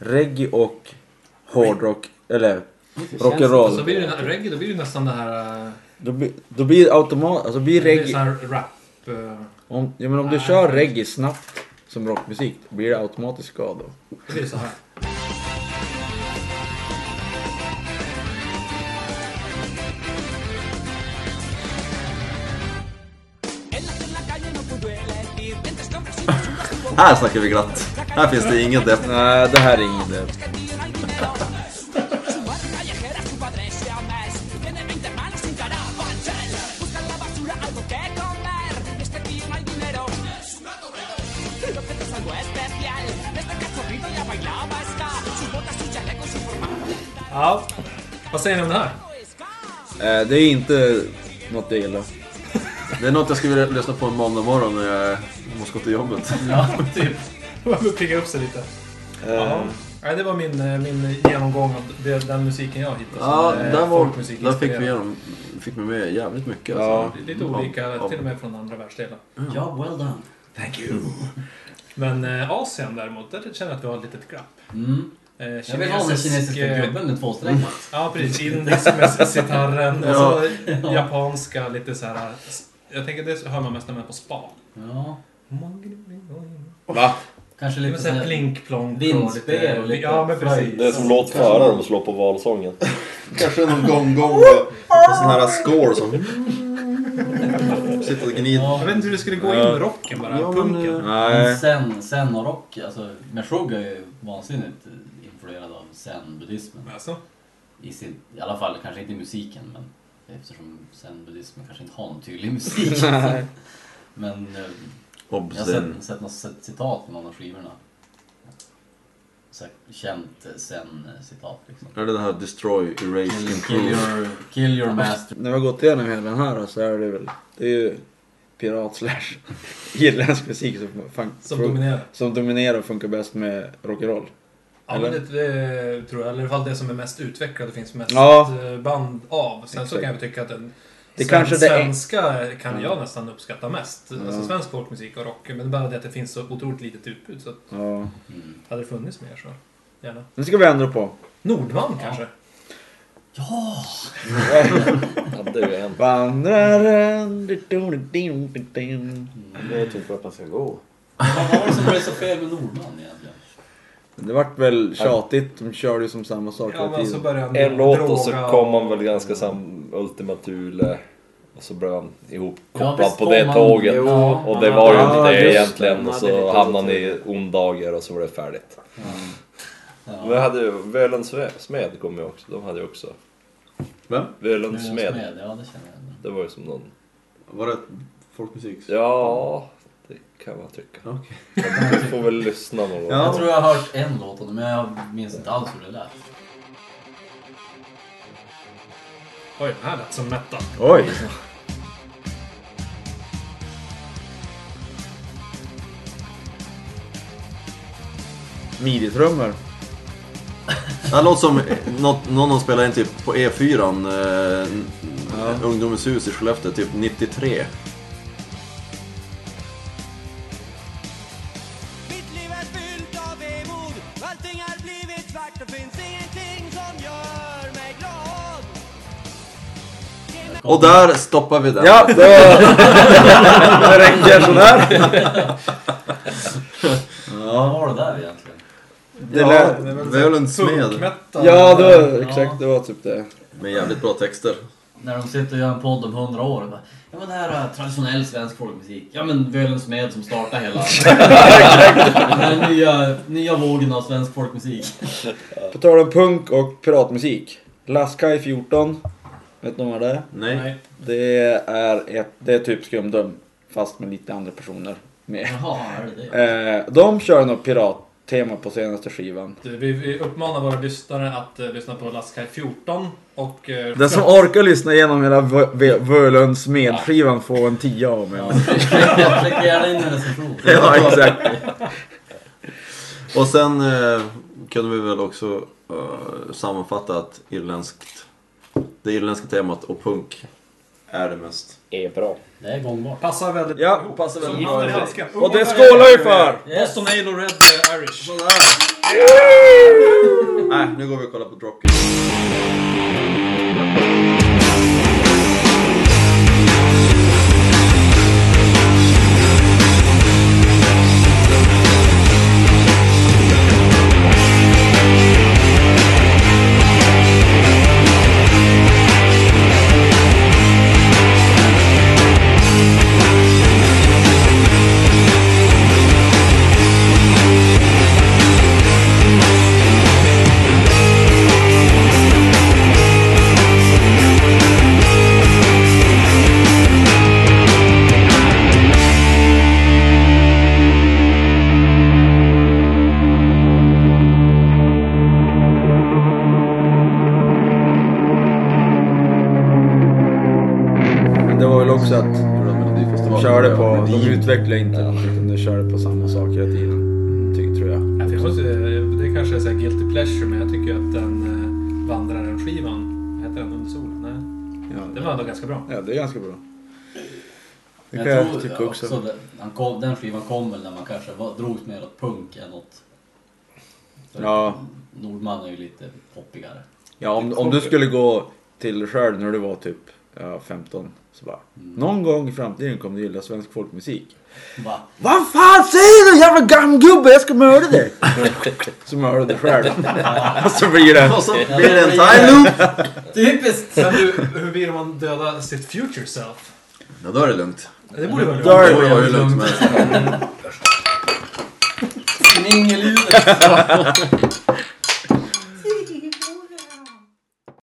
S3: Reggae och hårdrock, eller
S2: Och så
S3: rock'n'roll.
S2: blir det reggae, då blir det nästan det här... eh,
S3: Då blir, då blir automat... Alltså blir
S2: Det blir sån här
S3: reggae...
S2: rap. eh,
S3: Om, ja, men om du
S2: Nej.
S3: kör reggae snabbt som rockmusik, då blir det automatiskt ska då.
S2: Det blir så här.
S5: Här snackar vi glatt. Här finns det inget depp.
S3: Nej, det här är inget det.
S2: Ja. Vad säger ni om det här?
S3: Eh, Det är inte något jag gillar.
S5: Det är något jag skulle vilja lyssna på en måndag morgon när jag måste gå till jobbet.
S2: Ja, typ. Man behöver pigga upp sig lite. Ja. Nej, det var min, eh, min genomgång av det- den musiken jag Eh, hittade. som
S5: Ja,
S2: är
S5: där, var,
S2: folkmusik
S5: där fick vi
S2: inspirerad.
S5: igenom, fick vi med jävligt mycket.
S3: Ja.
S5: Alltså.
S2: Lite olika,
S5: Ja.
S2: till och med från andra världsdelar.
S4: Mm. Ja, well done.
S2: Thank you. Men eh, Asien däremot, där känner jag att vi har ett litet glapp.
S4: Mm.
S2: Eh,
S4: Jag vill ha den kinesiska
S2: eh,
S4: gubben med tvåsträngen.
S2: Ja, precis. Indisk med sitarren och
S5: Ja.
S2: så japanska lite så här. Jag tänker det hör man mest när man är på spa.
S4: Ja,
S3: Va?
S4: kanske
S2: Men
S4: lite
S2: så här
S4: såhär...
S2: plink-plonk och
S4: Vindspel och lite
S2: Ja, men precis.
S4: flöjt.
S6: Det är som låt före när de slår på valsången.
S8: Kanske någon gongong. då.
S5: Och sån här score som... Sitter och gnider.
S2: Jag
S4: Ja,
S2: vet inte hur det skulle gå in med rocken bara,
S5: Ja, men,
S2: punken.
S4: men
S3: Nej.
S4: sen, sen och rock, alltså Meshuggah är ju vansinnigt influerad av zen-buddhismen.
S2: Alltså,
S4: I, sin, I alla fall kanske inte i musiken, men eftersom zen-buddhismen kanske inte har någon tydlig musik. men eh, jag har
S5: Obscen.
S4: sett, sett något sett citat på någon av skivorna. Så här, känt eh, zen-citat liksom.
S5: Är det det här Destroy, Erase,
S4: Kill, kill,
S5: Improve?
S4: your, kill your master.
S3: När vi har gått igenom hela den här så är det väl... Det är ju pirat slash irländsk musik som, fan,
S2: som
S3: fun-
S2: dominerar.
S3: som dominerar och funkar bäst med rock'n'roll.
S2: Ja, men det, det tror jag. Eller i alla fall det som är mest utvecklat och finns mest
S3: Ja.
S2: eh, band av. Sen så
S3: Exakt.
S2: kan jag tycka att den
S3: Det
S2: sven-
S3: kanske det är-
S2: svenska kan jag nästan uppskatta mest. Alltså
S3: Ja.
S2: svensk folkmusik och rock. Men bara det att det finns så otroligt litet utbud. Så att
S3: Ja.
S4: Mm.
S2: hade det funnits mer så gärna.
S3: Nu ska vi ändra på.
S2: Nordman
S4: Ja.
S2: kanske?
S4: Ja!
S6: Hade ju en.
S3: Vandraren... Det
S6: Jag vet
S5: typ
S6: inte vart man ska gå.
S4: Vad var det som blev så fel med Nordman egentligen?
S3: vart väl tjatigt. De körde ju som samma sak
S2: Ja,
S3: hela
S2: men alltså så
S3: tiden.
S2: började han
S6: En låt
S2: droga
S6: och så kom han väl ganska sam... Ultima Thule. Och så blev han ihopkopplad
S4: visst
S6: på
S4: kom
S6: det
S4: han-
S6: tåget.
S4: Jo,
S6: Och
S4: han
S6: det
S4: hade-
S6: var ju
S3: Ja,
S6: inte det
S3: just det.
S6: egentligen.
S5: Han
S6: Och
S5: hade
S6: så
S5: lite
S6: hamnade han i
S5: otur.
S6: ondager och så var det färdigt. Men jag
S4: Ja.
S6: hade ju Völens Sve- Smed kom ju också. De hade ju också.
S5: Vem?
S6: Völens
S4: Nordman
S6: Smed.
S4: Ja, det känner jag. igen.
S6: Det var ju som någon...
S5: Var det folkmusik?
S6: Ja, det kan man tycka.
S5: Okej.
S6: Du får väl lyssna någon gång.
S5: Ja.
S4: Jag tror jag har hört en låt av dem, men jag minns inte alls hur det lät.
S2: Oj, den här lät som metal.
S3: Oj! Midjetrummor.
S5: Det här låter som eh, något, någon de spelade in typ på E4, eh,
S3: Ja.
S5: Ungdomens hus i Skellefteå, typ 93.
S7: Mitt liv är fyllt av vemod Allting har blivit svart och finns ingenting som gör mig glad
S5: Och där stoppar vi den.
S3: Ja, det, det räcker sådär.
S4: Vad var det där egentligen?
S3: Det lät,
S2: väl så-
S5: Völens smed.
S2: Punkmetal.
S3: ja, det var, exakt. Det var typ det.
S5: Med jävligt bra texter.
S4: När de sitter och gör en podd om hundra år. och Bara, ja men det här är traditionell svensk folkmusik. Ja men Völens Smed som startar hela... den här nya, nya vågen av svensk folkmusik.
S3: På tal om punk och piratmusik. Laskaj 14. Vet någon vad det är?
S5: Nej.
S2: Nej.
S3: Det är, ett, det är typ skumdum. Fast med lite andra personer med.
S4: Jaha, är det
S3: Eh,
S4: det?
S3: de kör något pirattema på senaste skivan.
S2: Vi, vi uppmanar våra lyssnare att eh, lyssna på Laskaj 14 och... eh,
S3: Den som orkar lyssna igenom hela Vö- Vö- Völunds medskivan får en tia av mig.
S4: Ja, klicka- Klicka gärna in en recension.
S5: Ja, exakt. Och sen eh, kunde vi väl också eh, sammanfatta att irländskt, det irländska temat och punk är det mest.
S6: Är bra.
S4: Det är gångbart.
S2: Passar väldigt
S3: Ja, passar väldigt
S2: Som
S3: bra.
S2: handen i handsken.
S3: Och det skålar vi för!
S4: Yes.
S2: Boston Ale och Red eh, Irish.
S5: Nej, nu går vi och kollar på Drocken.
S7: Thank
S3: De utvecklade inte någonting, utan de körde på samma sak hela tiden. Ty, tror jag.
S2: Jag måste, det kanske är så här guilty pleasure, men jag tycker att den eh, Vandraren-skivan, vad heter den? Under solen? Nej. Den var ändå ganska bra.
S3: Ja, det är ganska bra. Det
S4: Men
S3: kan jag,
S4: jag
S3: tycka
S4: tror
S3: också.
S4: också, också den, kom, den skivan kom väl när man kanske var, drogs mer åt punk än åt...
S3: Ja.
S4: Nordman är ju lite poppigare.
S3: Ja, om, om du skulle gå till själv när du var typ ja, 15 så bara.
S4: Mm.
S3: Någon gång i framtiden kommer du gilla svensk folkmusik.
S4: Va?
S3: Vad fan säger du jävla gammgubbe? Jag ska mörda dig! så mördar du dig själv. Och så blir det...
S5: Och så blir det en time-loop!
S4: Typiskt!
S2: Sen du, hur vill man döda sitt future self?
S5: Ja, då är det lugnt.
S2: Det borde vara
S3: Då är
S5: Det
S3: det
S5: var ju lugnt som helst.
S4: Kningeljudet!